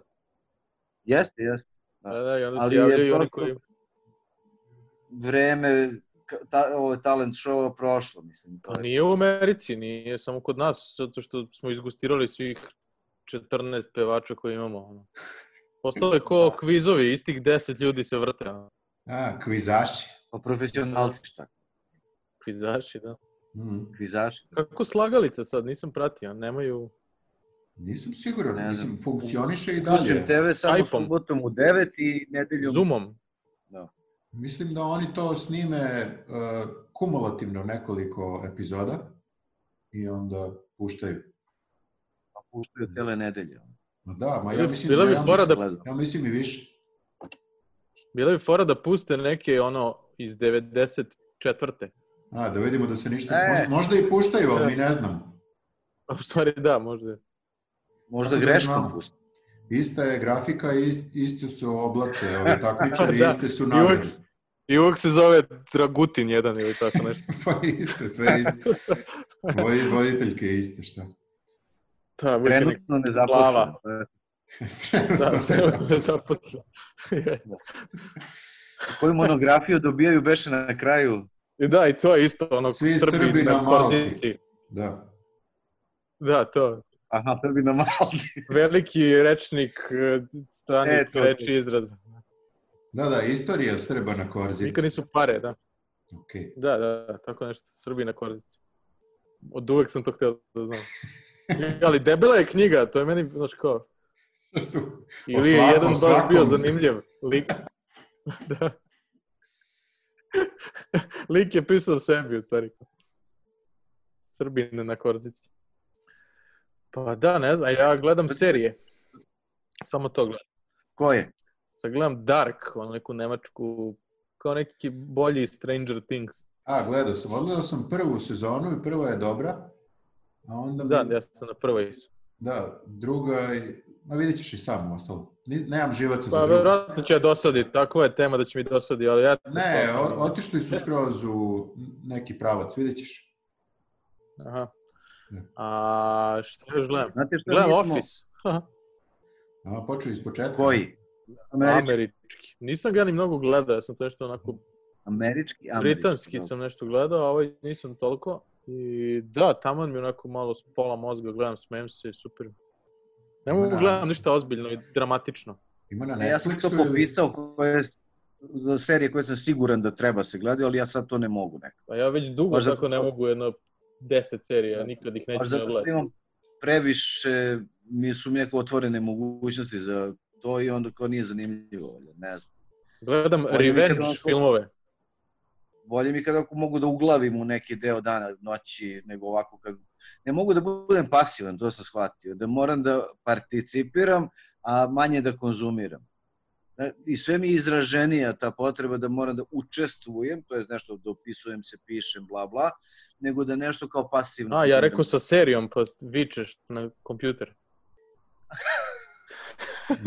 Jeste, jeste. Da.
Da, da, i onda se
Ali je
javljaju oni
prosto-
koji...
Vreme ka- ta, ovo talent show prošlo, mislim. To
Pa
je.
nije u Americi, nije samo kod nas, zato što smo izgustirali svih 14 pevača koje imamo. ono. Postalo je ko
Da.
kvizovi, istih 10 ljudi se vrte. ono.
A, kvizaši.
Pa profesionalci šta,
Kvizaši, da.
Mm.
kvizaši.
Kako slagalica sad, nisam pratio, nemaju...
Nisam siguran,
Ne znam. Znači,
mislim, funkcioniše i
Uključujem
dalje.
TV samo
Skype-om.
subotom u 9 i nedeljom.
Zoomom.
Mislim da oni to snime uh, kumulativno nekoliko epizoda i onda puštaju.
Pa puštaju cele nedelje.
Ma da, ma ja
Uf,
mislim,
bila bi
ja,
fora
mislim,
da-
gledam.
ja mislim i više.
Bila bi fora da puste neke ono iz 94.
A, da vidimo da se ništa...
E.
Možda, možda i puštaju,
E.
ali mi ne znamo.
A U stvari da, možda. je.
Možda
Kako da
greškom
znamo?
pusti.
Ista je grafika, ist, isti su oblače, ovi takmičari,
Da.
iste su
I
nagrade.
uvek, I uvek se zove Dragutin jedan ili tako nešto.
pa iste, sve isto. Vodi, voditeljke iste, šta?
Da, uvek je nek-
Trenutno da. nezaposlen.
Plava.
Trenutno
da,
ne znam.
da, zaposlen.
Koju monografiju dobijaju beše na kraju?
I da, i to je isto ono
Svi Srbi na Malti.
Korzici.
Da.
Da, to.
Aha, Srbi na Malti.
Veliki rečnik, eh, stanik
E, to, to.
reči izraz.
Da, da, istorija Srba na Korzici.
Nikad nisu pare, da.
Okej.
Da, da, da, tako nešto. Srbi na korzici. Od uvek sam to htio da znam. Ali debela je knjiga, to je meni, znaš kao,
Su- O
Ili je
svakom,
jedan baš
svakom
bio
se-
zanimljiv lik. da. lik je pisao o sebi, u stvari. Srbine na Korzici. Pa da, ne znam, ja gledam serije. Samo to gledam.
Ko je?
Sad gledam Dark, ono neku nemačku, kao neki bolji Stranger Things.
A, gledao sam. Odgledao sam prvu sezonu i prva je dobra. A onda mi-
Da, ja sam na prvoj.
Da, druga je... Ma vidjet ćeš i sam ostalo. Ni- Nemam živaca
Pa
za drugu.
verovatno će dosaditi, takva je tema da će mi dosaditi, ali ja...
Ne, o- otišli su skroz u neki pravac, vidjet ćeš.
Aha. A šta još gledam?
Znate šta
Da, Gledam
nismo-
Office.
A, počeo iz početka.
Koji? Američki.
Američki. Nisam ga ni mnogo gledao, ja sam to nešto onako,
Američki. Američki. da.
britanski sam nešto gledao, a ovaj nisam toliko. I da, tamo mi onako malo s pola mozga gledam, smijem se, super. Ne mogu
Da.
gledam ništa ozbiljno i dramatično.
Ima na
E, Ja sam to
Netflixu ili...
popisao koje serije koje sam siguran da treba se gledati, ali ja sad to ne mogu nekako.
Pa ja već dugo
Baš zato-
tako ne mogu jedno deset serija, nikad ih neću
Baš
da ne
zato što
gledati.
imam previše, mi su mi neke otvorene mogućnosti za to i onda kao nije zanimljivo, valjda, ne znam.
Gledam
Oni nikad
revenge
onako-
filmove.
Bolje mi kada mogu da uglavim u neki deo dana, noći, nego ovako kako... Ne mogu da budem pasivan, to sam shvatio, da moram da participiram, a manje da konzumiram. Da, I sve mi je izraženija ta potreba da moram da učestvujem, to je nešto dopisujem se, pišem, bla, bla, nego da nešto kao pasivno...
A, ja rekao sa serijom, pa vičeš na kompjuter.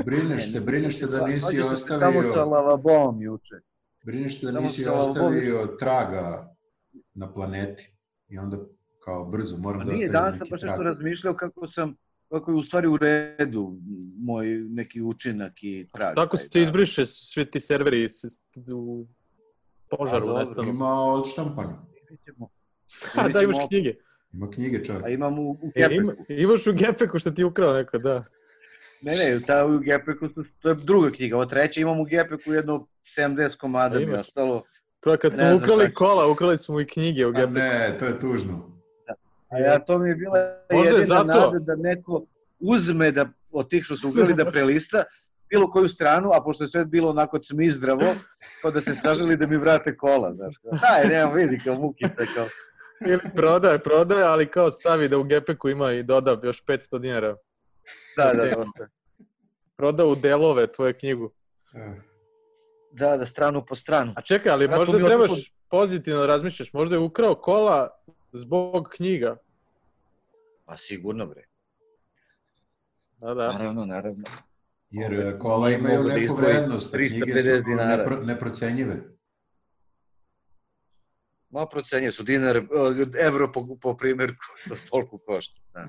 Brineš se, brineš se da nisi
Hoćete se Samo sa
ostavio...
lavabom juče.
Brineš se da
samo
nisi
sa ovom-
ostavio traga na planeti. I onda kao brzo moram
Pa
da
nije,
ostavim
danas sam
neki
baš
trag.
nešto razmišljao kako sam, kako je u stvari u redu moj neki učinak i trag.
Tako
taj,
se izbriše svi ti serveri s- s- u
A,
požaru,
dobro,
nestanu.
Ima odštampanje.
Vidjet ćemo.
A
Vidjet
da imaš
ćemo,
knjige.
Ima knjige čovjek.
A imam u, u
E, ima,
Gepeku.
imaš u gepeku što ti je ukrao neko, da.
Ne, ne, ta u Gepeku, su, to je druga knjiga. Ovo treća imam u Gepeku jedno 70 komada
A
mi je
imaš?
ostalo.
Prvo kad
Ne znam
smo ukrali
šta ću.
kola, ukrali smo i knjige u
A
gepeku.
ne, to je tužno.
A ja, to mi je bila
Možda je
jedina
zato.
nada da neko uzme da, od tih što su ugrali da prelista bilo koju stranu, a pošto je sve bilo onako cmizdravo, pa da se saželi da mi vrate kola. Znaš. kao, Daj, nema, vidi kao mukica. Kao.
Ili prodaje, prodaje, ali kao stavi da u gepeku ima i doda još 500 dinara.
Da, da, da.
Proda u delove tvoju knjigu.
Eh,
Da, da, stranu po stranu.
A čekaj, ali
Zato
možda
mi je
trebaš
otišlo-
pozitivno razmišljaš. Možda je ukrao kola zbog knjiga.
Pa sigurno, bre.
Da, da.
Naravno, naravno.
Jer eh, kola
Nije
imaju
mogu da
neku
izdvoji
vrednost. a Knjige su
350 dinara.
nepro- neprocenjive.
Ma procenje su dinar, eh, evro po, po primjerku, to toliko košta. Da.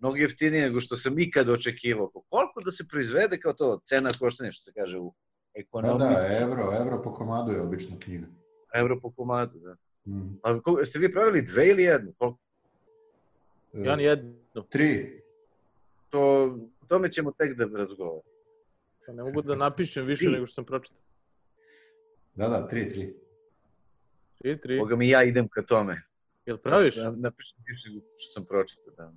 Mnogo jeftinije nego što sam ikad očekivao. Koliko da se proizvede kao to cena koštanja, što se kaže u
Da,
ekonomici.
da, evro, evro po komadu je obično knjiga.
Evro po komadu, da.
Mm.
A ko, ste vi pravili dve ili jednu? Koliko
Eh,
Ja ni jednu.
Tri.
to, o tome ćemo tek da razgovaramo.
Ne mogu da napišem više
Tri.
nego što sam pročitao.
Da, da, tri, tri.
Tri, tri.
Boga mi ja idem ka tome.
Jel praviš?
Da, napišem više što sam pročitao. Da.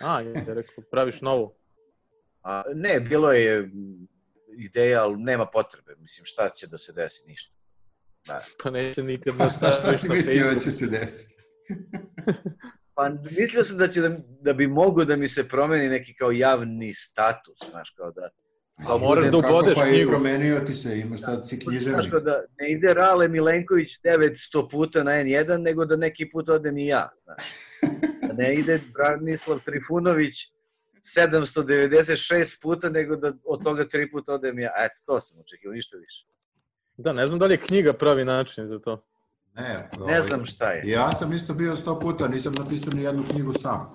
A, ja rekao, praviš novu.
A, ne, bilo je m, ideja, ali nema potrebe. Mislim, šta će da se desi? Ništa.
Pa neće nikad
Pa šta, šta
nastaviti
si
na
mislio da
Facebooku.
će se desiti?
Pa mislio sam da, će da, da bi mogo da mi se promeni neki kao javni status, znaš, kao da...
Pa moraš da ubodeš
pa i
knjigu.
promenio ti se, imaš sad si
Znaš,
književnik.
kao da ne ide Rale Milenković 900 puta na N1, nego da neki put odem i ja. Znaš. Da ne ide Branislav Trifunović 796 puta, nego da od toga tri puta odem ja. Eto, to sam očekio, ništa više.
Da, ne znam da li je knjiga pravi način za to.
Ne, ovaj,
Ne znam šta je.
Ja sam isto bio sto puta, nisam napisao ni jednu knjigu sam.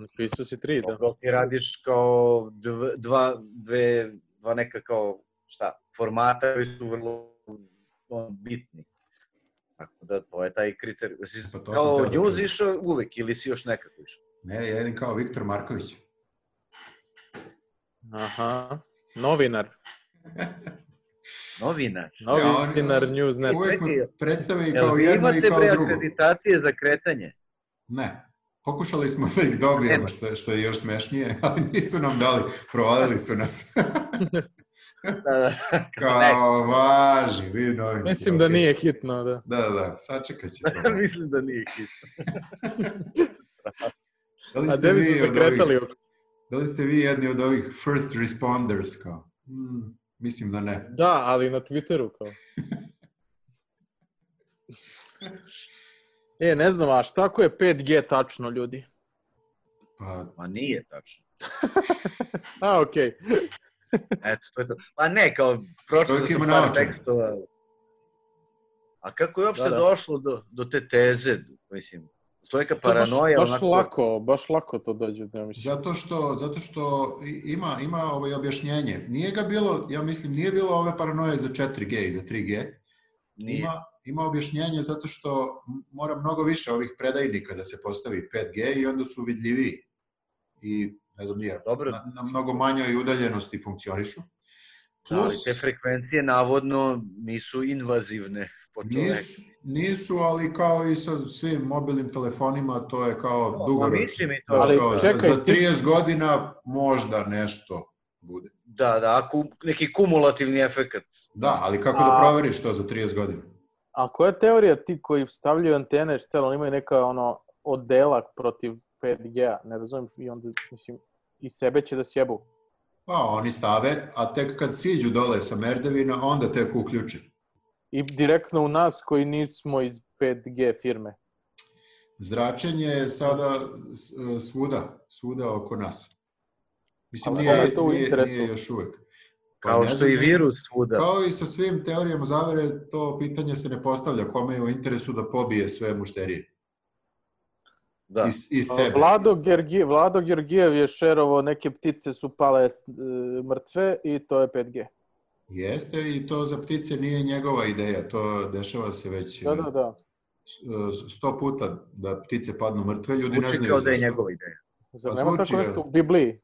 Napisao si tri, da.
Dok ti radiš kao dv, dva, dve, dva neka kao, šta, formata koji su vrlo ono, bitni. Tako da to je taj kriterij. Si
Pa to sam
kao
teo da
news
čujem.
išao uvek ili si još nekako išao?
Ne, ja jedin kao Viktor Marković.
Aha. Novinar.
Novinar.
Novinar
on-
news net.
Uvijek me
čekaj,
predstave i
jel
kao
Vi
jedno i
imate
kao
pre
drugo.
akreditacije za kretanje.
Ne. Pokušali smo da ih dobijemo,
Nema.
što, što je još smešnije, ali nisu nam dali. Provalili su nas.
Da, da.
Kao, važi, vi novinci.
Mislim da
okej.
nije hitno, da.
Da, da, da, sačekat će to.
Mislim da nije isto.
Da li
A
ste
gde
vi
bismo
od
se
ovih-
kretali? uopšte?
Da li ste vi jedni od ovih first responders kao? Hmm, mislim da ne.
Da, ali na Twitteru kao. E, ne znam, a šta ako je 5G tačno, ljudi?
Pa,
Ma nije tačno.
A, okej.
Eto, to je to. Pa ne, kao pročito
Čovjek ima
sam par
naočare.
tekstova. A kako je uopšte
Da,
da,
da.
da. došlo do, do te teze? Mislim, to je neka
To baš-
paranoja.
Baš,
onako-
lako, baš lako to dođe, da mislim.
zato što, zato što i- ima, ima ovaj objašnjenje. Nije ga bilo, ja mislim, nije bilo ove paranoje za 4G i za 3G.
Nije.
Ima, ima objašnjenje zato što m- mora mnogo više ovih predajnika da se postavi 5G i onda su vidljiviji. I, ne znam, nije,
Dobro,
da.
na, na mnogo manjoj udaljenosti funkcionišu.
Da, ali te frekvencije navodno nisu invazivne po čoveku.
Nisu, nisu, ali kao i sa svim mobilnim telefonima, to je kao
No,
dugoročno.
mislim i to.
Znaš,
Ali
kao, za-
čekaj,
za
ti-
30 godina možda nešto bude.
Da, da, ako neki kumulativni efekat.
Da, ali kako
A-
da proveriš to za 30 godina?
A koja je teorija ti koji stavljaju antene, šta jel oni imaju neka ono odelak protiv 5G-a, ne razumijem, i onda, mislim, i sebe će da sjebu.
Pa oni stave, a tek kad siđu dole sa merdevina, onda tek uključe.
I direktno u nas koji nismo iz 5G firme.
Zračenje je sada s- e, svuda, svuda oko nas. Mislim,
Ali
nije,
kome je to u
nije,
interesu? Da.
nije još uvek. Pa
Kao
ne
što
znam,
i virus svuda.
Kao i sa svim teorijama zavere, to pitanje se ne postavlja. Kome je u interesu da pobije sve mušterije?
Da.
I, i sebe.
Vlado, Gergi, Vlado Gergijev je šerovo, neke ptice su pale e, mrtve i to je 5G.
Jeste, i to za ptice nije njegova ideja. To dešava se već
Da, da, da.
e, sto puta da ptice padnu mrtve. Ljudi ne
Zvuči
znaju
kao da je
zašto.
njegova ideja.
Zar
Pa
nema
zvuči,
tako nešto
ali.
u Bibliji?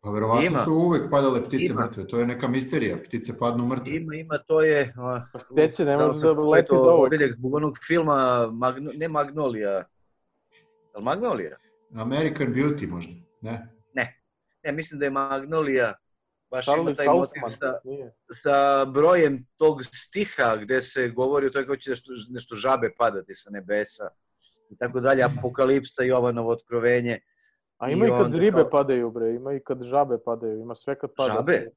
Pa verovatno
Ima.
su uvek padale ptice
Ima.
mrtve. To je neka misterija. Ptice padnu mrtve.
Ima, ima, to je... a,
gde će, Da. Pa ne
da,
može
sam
da leti
čitao
za ovog.
odeljak Zbog onog filma, Magno, ne Magnolija, je li Magnolija?
American Beauty možda. Ne?
Ne, mislim da je Magnolija, baš
Charlie
ima taj
Kaufman.
motiv da- sa,
Nije.
sa brojem tog stiha gde se govori o toj kako će nešto, nešto žabe padati sa nebesa i tako dalje, apokalipsa, Jovanovo otkrovenje.
A
I
ima i kad
onda
ribe
kao-
padaju, bre, ima i kad žabe padaju, ima sve kad padaju.
Žabe?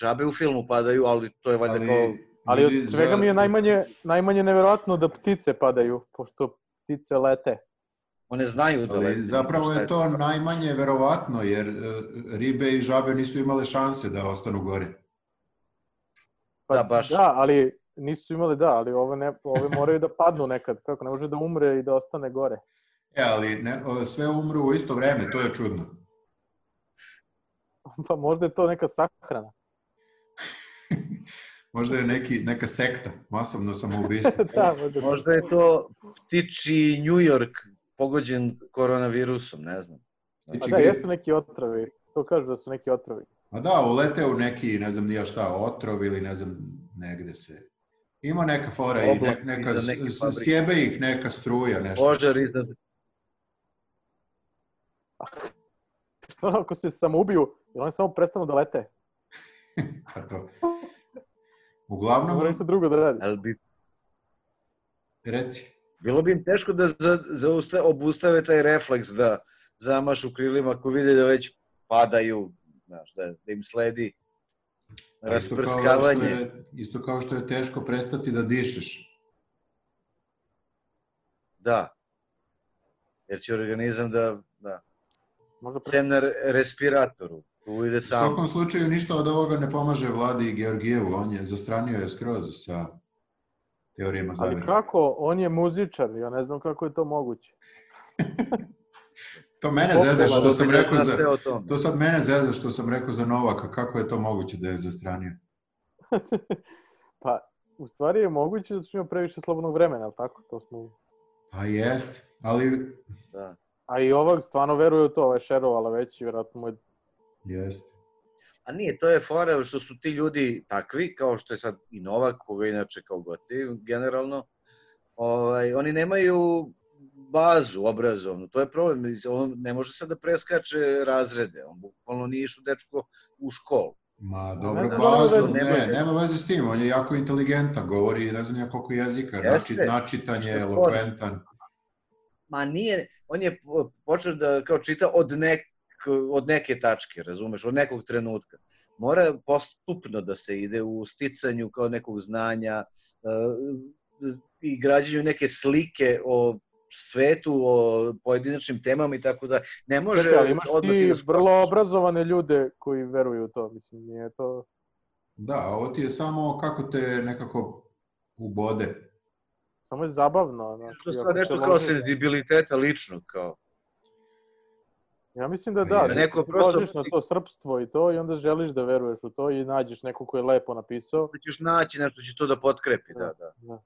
Žabe u filmu padaju, ali to je valjda kao...
Ali
ljudi
od svega
za-
mi je najmanje, najmanje neverovatno da ptice padaju, pošto ptice lete.
One znaju da
Ali
lete,
zapravo
šta
je to najmanje verovatno, jer e, ribe i žabe nisu imale šanse da ostanu gore.
Da, baš.
Da, ali nisu imali, da, ali ove, ne, ove moraju da padnu nekad, kako, ne može da umre i da ostane gore.
E, ali ne, o, sve umru u isto vreme, to je čudno.
Pa možda je to neka sahrana.
Možda je neki, neka sekta, masovno samoubistvo.
da, možda.
Možda je to ptiči New York pogođen koronavirusom, ne znam.
Pa da, jesu neki otrovi, to kažu da su neki otrovi.
Znači, A da, ulete u neki, ne znam ni ja šta, otrov ili ne znam, negde se... Ima neka fora i
Oblak
ne, neka,
iza neke
s- s-
fabrike.
sjebe ih neka struja, nešto.
Požar iznad
Stvarno, ako se samoubiju, jel oni samo prestanu da lete?
Pa to.
Moram
Uglavnom,
ništa drugo da radi.
Ali bi,
reci,
Bilo bi im teško da za, zausta, obustave taj refleks da zamašu krilima ako vide da već padaju, znaš, da, da im sledi Pa rasprskavanje.
Isto kao, da što je, isto kao što je teško prestati da dišeš.
Da. Jer će organizam da, da.
Možda pre...
sem na re- respiratoru. Tu ide
U
sam.
svakom slučaju ništa od ovoga ne pomaže vladi i Georgijevu. On je zastranio je skroz sa teorijama
Ali
zavere.
kako? On je muzičar, ja ne znam kako je to moguće.
To mene
Potreba
zezda što
Dobro,
sam
da ti znaš
rekao
šta
za...
sve o tome.
To sad mene zezda što sam rekao za Novaka. Kako je to moguće da je zastranio?
Pa, u stvari je moguće da su imao previše slobodnog vremena, ali tako? To smo...
Pa jest, ali
Da.
A i ovog stvarno veruje u to, ovaj šerovala već i vjerojatno mu je...
jest.
A nije, to je fora što su ti ljudi takvi, kao što je sad i Novak, koga inače kao gotiv, generalno, ovaj, oni nemaju bazu obrazovnu, to je problem. On ne može sad da preskače razrede, on bukvalno nije išao dečko u školu.
Ma,
ne
dobro,
znam,
bazu,
dobro,
da-
ne,
nemoj-
nema veze s tim, on je jako inteligentan, govori ne znam ja koliko jezika,
Jeste.
načit, načitan je,
Što je
elokventan.
Ma nije, on je po- počeo da kao čita od, nek, od neke tačke, razumeš, od nekog trenutka. Mora postupno da se ide u sticanju kao nekog znanja eh, i građenju neke slike o svetu, o pojedinačnim temama i tako da. Ne može
Čekaj, ali imaš
odmah
ti
da skoči.
vrlo obrazovane ljude koji veruju u to, mislim, nije to...
Da, a ovo ti je samo kako te nekako ubode.
Samo je zabavno. Znači,
To
ako
je nešto
se
kao
ložiš-
senzibiliteta ličnog, kao.
Ja mislim da
Pa
da,
jeste.
da
Neko
neko
prosto-
prosto... na to srpstvo i to i onda želiš da veruješ u to i nađeš neko ko je lepo napisao.
Da ćeš naći nešto, će to da potkrepi, da, da.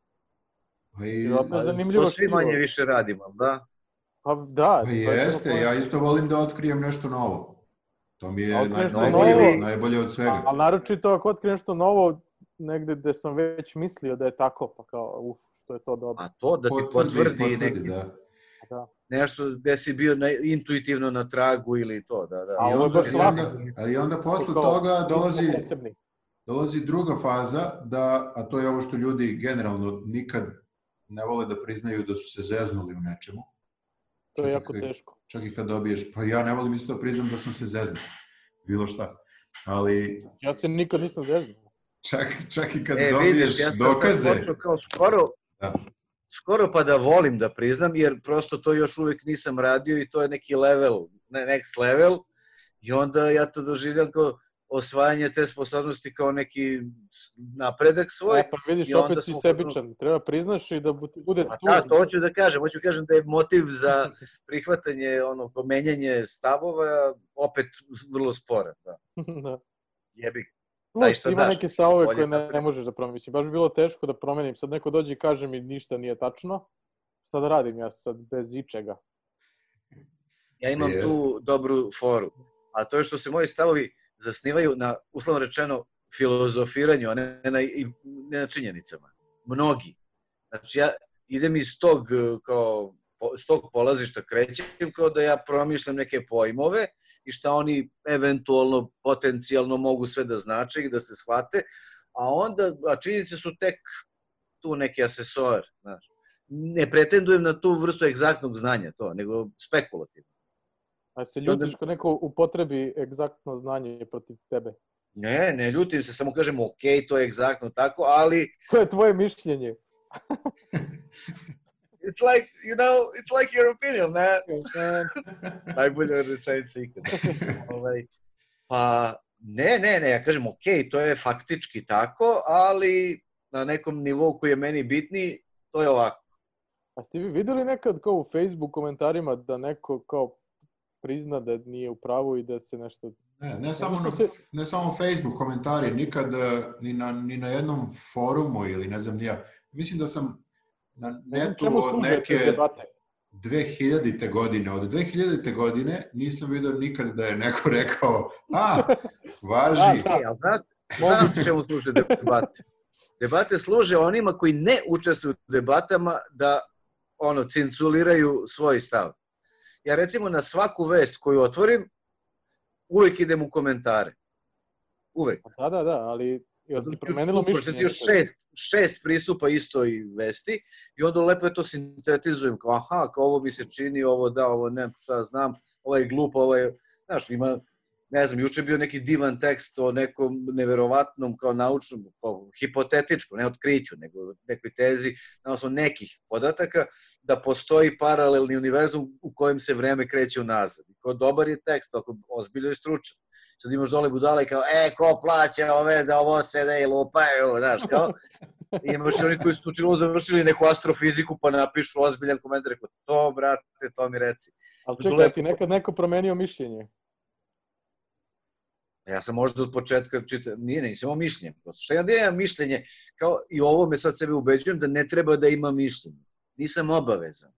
Pa, i,
Vjerojatno
Pa,
je zanimljivo
to svi
štivo.
manje više radimo, ali da?
Pa da.
pa
to je
jeste,
cela
ja
poenta.
isto volim da otkrijem nešto novo. To mi je
A otkriješ
naj,
nešto
najbolje,
novo?
najbolje od svega.
Ali naročito ako otkri nešto novo negde gde sam već mislio da je tako, pa kao, uf, što je to dobro.
A to da ti potvrdi, potvrdi neki
da.
Da.
nešto gde si bio na, intuitivno na tragu ili to, da, da.
A
I
ovo je
onda,
baš
i
lako.
onda, ali onda posle
Kao,
toga
nismo
dolazi,
posebni.
dolazi druga faza, da, a to je ovo što ljudi generalno nikad ne vole da priznaju da su se zeznuli u nečemu.
To je
čekaj,
jako
kaj-
teško.
Čak i kad dobiješ, pa ja ne volim isto da priznam da sam se zeznao. Bilo šta. Ali
Ja se nikad nisam zeznuo.
čak, čak i kad
E,
e, dobiješ
vidiš, ja sam sad
dokaze,
počeo kao skoro,
Da.
skoro pa da volim da priznam, jer prosto to još uvek nisam radio i to je neki level, ne, next level, i onda ja to doživljam kao osvajanje te sposobnosti kao neki napredak svoj.
E, pa vidiš,
i onda
opet si
smo-
sebičan. Treba priznaš i da bu- ti bude
Pa
tužno.
da, to hoću da kažem, hoću da kažem da je motiv za prihvatanje, ono, pomenjanje stavova opet vrlo sporan, da.
da.
Jebi ga. Daj,
Plus,
šta
ima
daš,
neke stavove
bolje
koje ne,
napravi.
ne možeš da promeniš. Mislim, Baš bi bilo teško da promenim. Sad neko dođe i kaže mi ništa nije tačno. Šta da radim ja sad bez ičega?
Ja imam
Jeste.
tu dobru foru. A to je što se moji stavovi zasnivaju na, uslovno rečeno, filozofiranju, a ne na, i- ne na činjenicama. Mnogi. Znači, ja idem iz tog, e, kao, po- s tog polazišta krećem kao da ja promišljam neke pojmove i šta oni eventualno, potencijalno mogu sve da znače i da se shvate, a onda, a činjenice su tek tu neki asesor, znaš. Ne pretendujem na tu vrstu egzaktnog znanja, to, nego spekulativno.
A se
Onda-
ljutiš kad neko upotrebi egzaktno znanje protiv tebe.
Ne, ne ljutim se, samo kažem, ok, to je egzaktno tako, ali
Koje je tvoje mišljenje?
it's like, you know, it's like your opinion, man.
E,
Najbolja rečenica ikada. ovaj, pa, ne, ne, ne, ja kažem, ok, to je faktički tako, ali na nekom nivou koji je meni bitni, to je ovako.
A ste vi videli nekad kao u Facebook komentarima da neko kao prizna da nije u pravu i da se nešto...
ne, ne, samo
Zato
na,
što se-
ne samo Facebook komentari, nikad eh, ni na, ni na jednom forumu ili ne znam ni ja. Mislim da sam na netu
Čemu
od
služe te
neke
debate?
2000. godine. Od 2000. godine nisam vidio nikad da je neko rekao, a,
Da,
važi,
da.
E, ali znate, znam čemu služe debate. Debate služe onima koji ne učestvuju u debatama da ono cinculiraju svoj stav. Ja recimo na svaku vest koju otvorim uvek idem u komentare. Uvek.
Da, da, da, ali Jel ti promenilo
da
mišljenje?
znači, Još šest, šest pristupa istoj vesti i onda lepo je to sintetizujem. Kao, aha, kao ovo mi se čini, ovo da, ovo ne, šta ja znam, ovaj je glup, ovaj je... Znaš, ima, ne znam, juče je bio neki divan tekst o nekom neverovatnom, kao naučnom, kao hipotetičkom, ne otkriću, nego nekoj tezi, na osnovu nekih podataka, da postoji paralelni univerzum u kojem se vreme kreće unazad. I Kao dobar je tekst, ako ozbiljno je stručan. Sad imaš dole budale kao, e, ko plaća ove da ovo sede i lupaju, znaš, kao. I imaš i oni koji su učinilo završili neku astrofiziku pa napišu ozbiljan komentar, rekao, to, brate, to mi reci.
Ali čekaj, jel ti nekad neko promenio mišljenje?
Ja sam možda od početka čitao, nije, ne, nisam imao mišljenje. Prosto. Šta ja da imam mišljenje? Kao i ovo me sad sebe ubeđujem da ne treba da imam mišljenje. Nisam obavezan.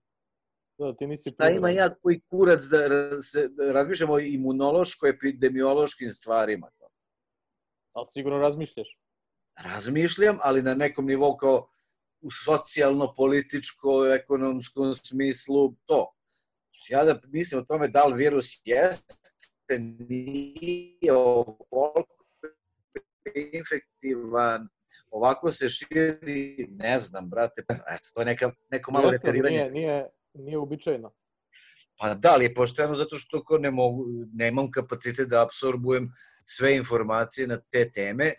Da, ti nisi
Šta ima ja koji kurac da, ra- se, da razmišljam o imunološko-epidemiološkim stvarima?
Ali sigurno razmišljaš.
Razmišljam, ali na nekom nivou kao u socijalno-političko-ekonomskom smislu to. Ja da mislim o tome da li virus jeste, nije ovoliko je infektivan, ovako se širi, ne znam, brate, pa eto, to je neka, neko malo
Jeste, ali
referiranje.
Nije, nije, nije uobičajeno.
Pa da, ali je pošteno zato što ko ne mogu, nemam kapacitet da apsorbujem sve informacije na te teme,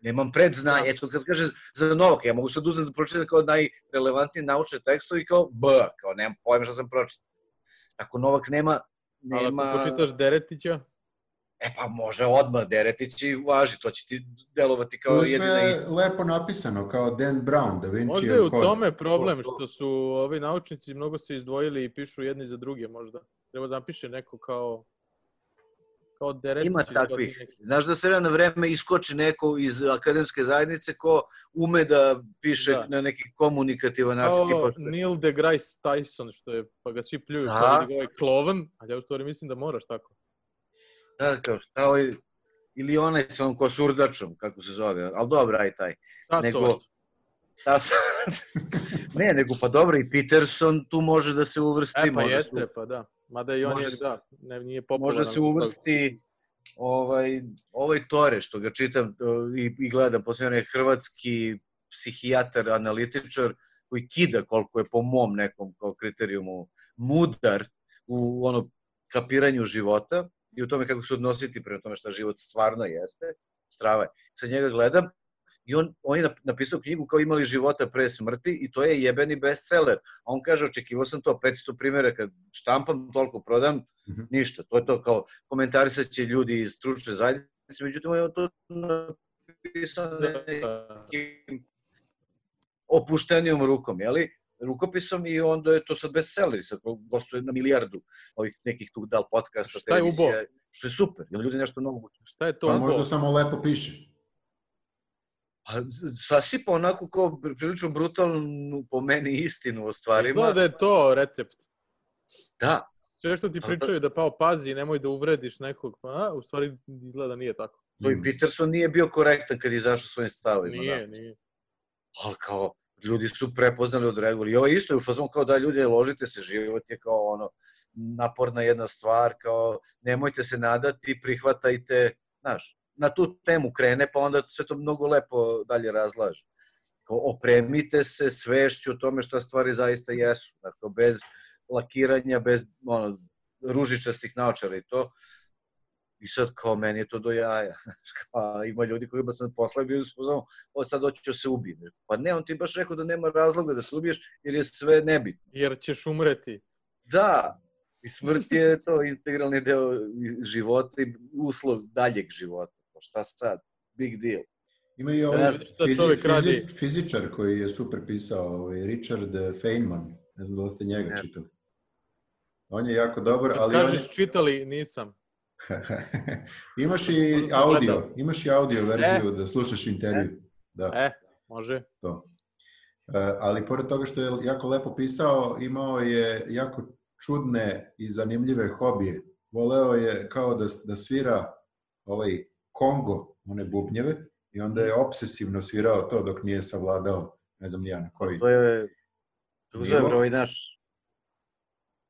nemam predznanja.
Da.
Eto, kad kažem za Novaka, ja mogu sad uzeti da pročitam kao najrelevantnije naučne tekstove i kao B, kao nemam pojma šta sam pročitao. Ako Novak nema, nema...
Ali ako počitaš Deretića,
E pa može odmah Deretić i važi, to će ti delovati kao
To je
jedina
sve
istina.
lepo napisano, kao Dan Brown, Da Vinci
možda je u
kod.
tome
To-
problem
to.
što su ovi naučnici mnogo se izdvojili i pišu jedni za druge možda. Treba da napiše neko kao kao Deretić.
Ima
ili kao ti
takvih.
neki.
Znaš da se na vreme iskoči neko iz akademske zajednice ko ume da piše
Da.
na neki komunikativan način.
Kao
tipa,
Neil deGrasse Tyson, što je, pa ga svi pljuju,
Da.
pa vidi ga ovaj klovan, ali ja u stvari mislim da moraš tako.
Da, kao šta ovaj, ili onaj sa onom kosurdačom, kako se zove, ali dobro, aj taj.
Tasovac.
Nego- Ta sad. ne, nego pa dobro, i Peterson tu može da se uvrsti.
E, pa
može
jeste,
Se,
pa da. Mada i on
Može-
je, da, ne, nije popularan.
može se uvrsti ovaj, ovaj Tore, što ga čitam e, i, i gledam, posljedno je hrvatski psihijatar, analitičar, koji kida koliko je po mom nekom kao kriterijumu mudar u ono kapiranju života i u tome kako se odnositi prema tome šta život stvarno jeste, strava je. Sad njega gledam i on, on je nap- napisao knjigu kao imali života pre smrti i to je jebeni bestseller. A on kaže, očekivao sam to 500 primjera, kad štampam, toliko prodam,
Mhm.
ništa. To je to kao komentarisat će ljudi iz stručne zajednice, međutim, on je to napisao
Da,
ne,
da.
nekim opuštenijom rukom, jeli? rukopisom i onda je to sad bestseller, sad gostuje na milijardu ovih nekih tu dal podcasta,
Šta je ubo?
televizija, što je super, jer ljudi nešto novo
Šta je to?
Pa
Ugo?
možda samo lepo piše.
Pa, sasipa onako kao prilično brutalnu, po meni, istinu o stvarima.
Izgleda da je to recept.
Da,
Sve što ti
Pa da.
pričaju da pao pazi, nemoj da uvrediš nekog, pa a, u stvari izgleda da nije tako.
to
Mm.
i Peterson nije bio korektan kad je izašao svojim stavovima.
Nije,
da.
nije.
Ali kao, ljudi su prepoznali, odreagovali. I ovo isto je u fazonu kao da ljudi ložite se, život je kao ono, naporna jedna stvar, kao nemojte se nadati, prihvatajte, znaš, na tu temu krene, pa onda sve to mnogo lepo dalje razlaže. Kao, opremite se svešću o tome šta stvari zaista jesu, dakle, bez lakiranja, bez ono, ružičastih naočara i to. I sad kao, meni je to do jaja. Znaš, kao, ima ljudi kojima sam posla i bili su pozvao, o sad hoću da se ubijem. Pa ne, on ti je baš rekao da nema razloga da se ubiješ jer je sve nebitno.
Jer ćeš umreti.
Da, i smrt je to integralni deo i- života i uslov daljeg života. Pa šta sad? Big deal.
Ima i ovaj
Ne
znam šta čovjek radi.
fizičar koji je super pisao, ovaj Richard Feynman. Ne znam da li ste njega
Ne.
čitali. On je jako dobar,
Kad
ali on je...
kažeš čitali, nisam.
imaš i
Možda sam
audio,
gledao.
imaš i audio verziju da slušaš intervju. Da.
E, može.
E, ali pored toga što je jako lepo pisao, imao je jako čudne i zanimljive hobije. Voleo je kao da, da svira ovaj Kongo, one bubnjeve, i onda je obsesivno svirao to dok nije savladao, ne znam ni ja na koji,
To je... Kako zove
Nivo?
broj naš?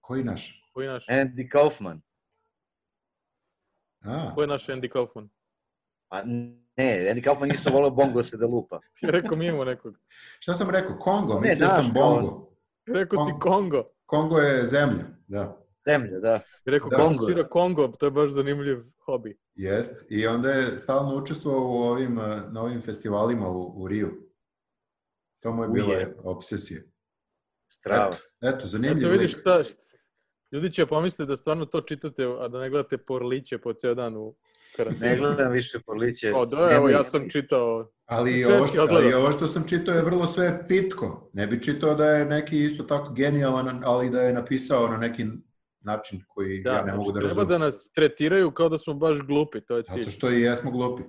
koji naš?
Koji je naš,
Andy Kaufman.
A,
koji je naš Andy Kaufman?
Pa Ne, Andy Kaufman isto volio bongo se da lupa.
Ti je rekao mimo nekog.
Šta sam rekao? Kongo,
Ne,
mislio sam
znaš, kao-
Bongo.
Rekao si
Kongo.
Kongo.
Kongo je zemlja, da.
Zemlja, da.
Rekao
Da.
kako
Kongo.
svira Kongo, Pa to je baš zanimljiv hobi.
Jest. I onda je stalno učestvovao u ovim, eh, na ovim festivalima u, u Riju. To mu je bila
Uje.
obsesija.
Strava.
Eto,
Eto
zanimljivo.
vidiš šta, ljudi će pomisliti da stvarno to čitate, a da ne gledate porliće po cijel dan u
Ne
karantinu.
gledam više porliće.
Kao da, evo, ja sam čitao.
Ali,
Sve
ovo
si
što, ali
odgledao.
ovo što sam čitao je vrlo sve pitko. Ne bi čitao da je neki isto tako genijalan, ali da je napisao na neki način koji
Da,
ja ne
znači,
mogu da
treba
razumijem.
da nas tretiraju kao da smo baš glupi, to je cilj.
Zato što i jesmo glupi.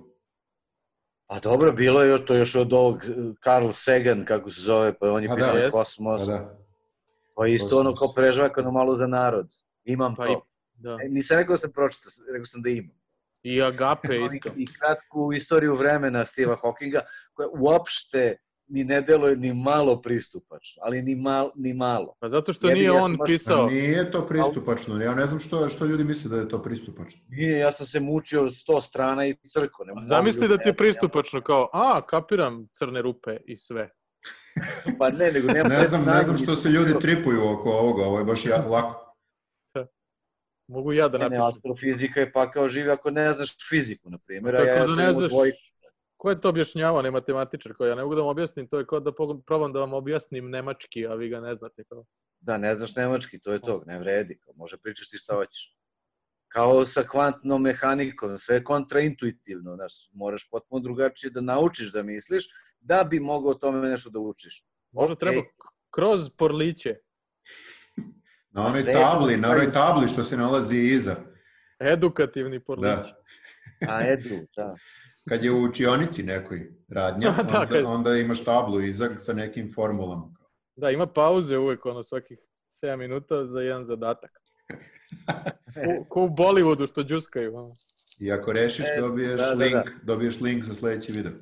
Pa dobro, bilo je još to još od ovog eh, Carl Sagan, kako se zove, pa on je
A da,
pisao
jest.
Pa
Kosmos,
da.
pa isto ono
Kosmos.
kao prežvakano malo za narod. Imam
Pa
to.
Da.
E, Nisam rekao da sam pročitao, rekao sam da imam.
I Agape
Imam i-
Pa isto.
I kratku istoriju vremena Steve'a Hawkinga, koja uopšte mi ne deluje ni malo pristupačno, ali ni, mal, ni malo.
Pa zato što
Jebi
nije
ga, ja
on
sam baš-
Pa
pisao.
Nije to pristupačno. Ja ne znam što, što ljudi misle da je to pristupačno.
Nije, ja sam se mučio sto strana i crko. Ne mogu
Zamisli da
ljudi,
ti je
ne-
pristupačno kao, a, kapiram crne rupe i sve.
Pa ne, nego da nemam
Ne znam, ne
snage,
znam što
niti
se ljudi
bilo.
tripuju oko ovoga. Ovo je baš ja, lako.
Mogu ja da
Ne, ne,
napišem.
astrofizika je pa kao živi ako ne znaš fiziku, na primjer. a ja
Tako da
sam
ne
u
znaš,
dvojku.
ko je to objašnjavao, ne matematičar, koji ja ne mogu da vam objasnim, to je kao da pogod- probam da vam objasnim nemački, a vi ga ne znate. Kao.
Da, ne znaš nemački, to je to,
Da.
ne vredi. kao, Može pričaš ti šta hoćeš. Kao sa kvantnom mehanikom, sve je kontraintuitivno. Znaš, moraš potpuno drugačije da naučiš da misliš, da bi mogao o tome nešto da učiš.
Možda
Okej.
treba k- kroz porliće.
Na onoj
Sve je to
tabli, na onoj
taj-
tabli što se nalazi iza.
Edukativni porlić.
Da.
A edu, da.
Kad je u učionici nekoj radnja,
Da,
onda,
kad-
onda imaš tablu iza sa nekim formulama.
Da, ima pauze uvek, ono, svakih 7 minuta za jedan zadatak. Ko, ko u Bollywoodu što džuskaju. Ono.
I ako rešiš,
E,
dobiješ,
da, da, da.
link, dobiješ link za sledeći video.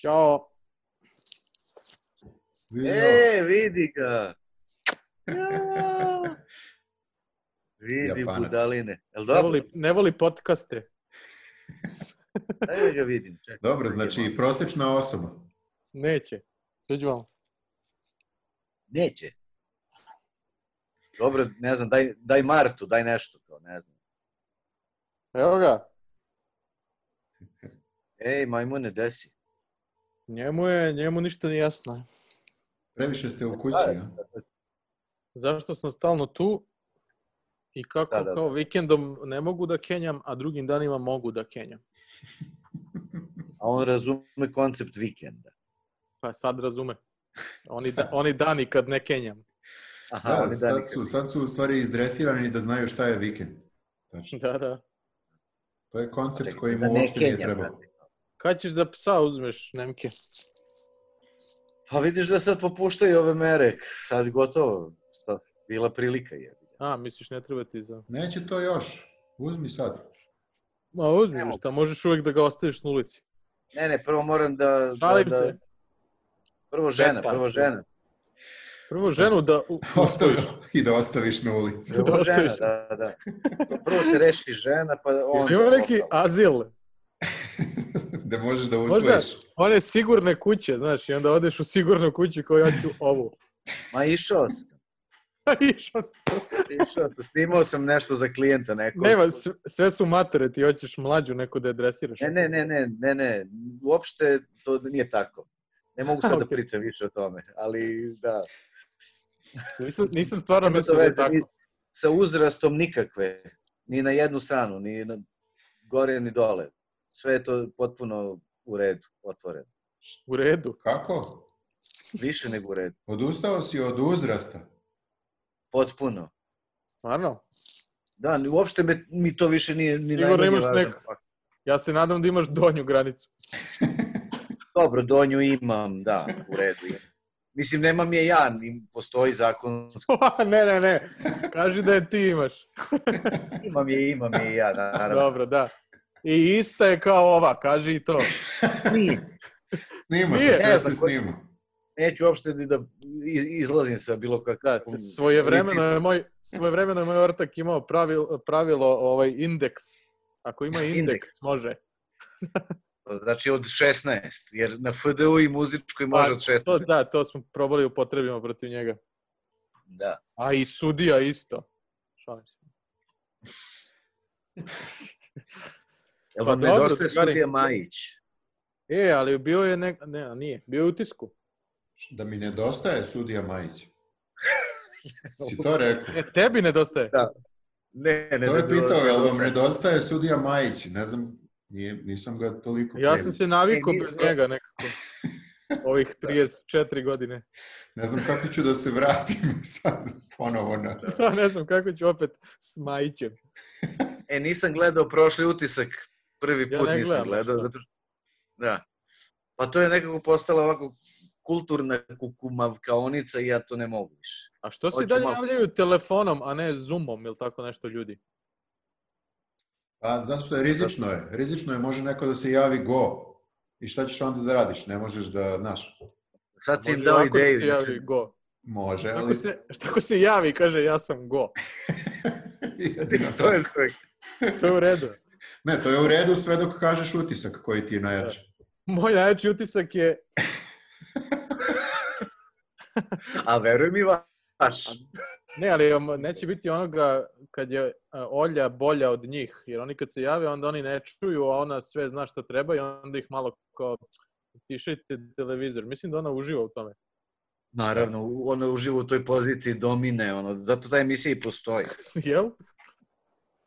Ćao.
Video.
E, vidi ga! Ja. Vidi
Japanac.
budaline. Jel
Ne
dobro?
voli, ne voli podcaste.
Ajde da ga vidim. Čekaj,
Dobro,
da
znači
vidimo.
prosečna osoba.
Neće. Dođu vam.
Neće. Dobro, ne znam, daj, daj Martu, daj nešto, kao, ne znam.
Evo ga.
Ej, majmune, desi.
Njemu je, njemu ništa nije jasno.
Previše ste
Pa,
u
da,
kući, a?
Zašto sam stalno tu i kako
Da, da, da.
kao vikendom ne mogu da kenjam, a drugim danima mogu da kenjam.
A on razume koncept vikenda.
Pa sad razume. Oni, da,
Sad.
oni dani kad ne kenjam.
Aha,
Da,
on je
sad,
Danica.
su, sad su u stvari izdresirani da znaju šta je vikend. Znači,
Da, da.
to je koncept
Čekaj,
koji im
da ne
uopšte nije
Kenja,
trebao.
brate.
Kad ćeš da psa uzmeš, Nemke?
Pa vidiš da sad popuštaju ove mere. Sad gotovo. Šta, bila prilika je.
A, misliš ne treba ti za...
Neće to još. Uzmi sad.
Ma uzmi,
Evo.
šta, možeš uvek da ga ostaviš na ulici.
Ne, ne, prvo moram da... da,
Šalim
da
se.
Prvo žena,
Petar.
prvo žena.
Prvo ženu da... u-
Ostavi, I da ostaviš na ulici.
Prvo
Da,
žena,
ostaviš.
da, da. Prvo se reši žena, pa on...
Ima neki azil.
da možeš da
Možda
usvojiš.
one sigurne kuće, znaš, i onda odeš u sigurnu kuću kao ja ću ovu.
Ma išao sam,
Išao sam.
išao sam. Snimao sam nešto za klijenta nekog.
Nema, sve- sve su matere, ti hoćeš mlađu neku da je dresiraš.
Ne, ne, ne, ne, ne, ne, uopšte to nije tako. Ne mogu sad da
Ok.
pričam više o tome, ali da.
Nisam, nisam stvarno
Nema to
mislio da je
veze, ni
tako.
Sa uzrastom nikakve, ni na jednu stranu, ni na gore, ni dole. Sve je to potpuno u redu, otvoreno.
U redu.
Kako?
Više nego u redu,
Odustao si od uzrasta.
potpuno.
Stvarno?
Da, ni- uopšte me, mi to više nije ni
Igor,
najmanje
imaš
važno.
neku? Ja se nadam da imaš donju granicu.
Dobro, donju imam, da, u redu je. Mislim, nemam je ja, ni- postoji zakon,
ne, ne, ne. Kaži da je ti imaš.
imam je, imam je i ja, naravno.
Dobro, da. I ista je kao ova, kaži i to.
Snima se,
Nije.
sve
Ne
se
znam ko-
snima.
neću uopšte ni da iz- izlazim sa bilo
Da,
kakvom...
svojevremeno je moj, svojevremeno je moj ortak imao pravilo, pravilo ovaj indeks Ako ima indeks, može.
Znači od 16, jer na FDU i muzičkoj može od 16.
Pa, To, da, to smo probali upotrebimo protiv njega.
Da.
A i sudija isto. Šalim se.
Jel
Pa
vam
dobro,
nedostaje
drugari.
sudija Majić?
E, ali bio je nek... Ne, a nije. Bio je u utisku.
Da mi nedostaje sudija Majić. Si to rekao?
E, tebi nedostaje.
Da. Ne, ne.
To
ne,
je
ne,
pitao,
ne,
jel
ne,
vam nedostaje sudija Majić? Ne znam, nije, nisam ga toliko...
Ja sam se navikao
E, mi-
bez njega nekako. Ovih 34 godine.
Ne znam kako ću da se vratim sad ponovo na...
Da, ne znam kako ću opet s Majićem.
E, nisam gledao prošli utisak, prvi
Ja
put
ne
nisam
gledam,
gledao.
šta?
Zato... što- Da. Pa to je nekako postala ovako kulturna kukumavkaonica i ja to ne mogu više.
A što se
Hoću
dalje
malo.
javljaju telefonom, a ne Zoomom ili tako nešto ljudi?
Pa, zato što je rizično je. Rizično je, može neko da se javi go. I šta ćeš onda da radiš? Ne možeš da, znaš,
Sad si im
Može
dao
ovako da
ideju. znači,
se javi go.
može,
Tako
ali...
se, tako se javi i kaže ja sam go.
Jedino
to
to.
je sve.
To je u redu.
Ne, to je u redu sve dok kažeš utisak koji ti je najjači.
Moj najjači utisak je
A veruj mi vaš.
Ne, ali um, neće biti onoga kad je a, Olja bolja od njih, jer oni kad se jave, onda oni ne čuju, a ona sve zna šta treba i onda ih malo kao tišajte televizor. Mislim da ona uživa u tome.
Naravno, u- ona uživa u toj poziciji domine, ono, zato ta emisija i postoji.
Jel?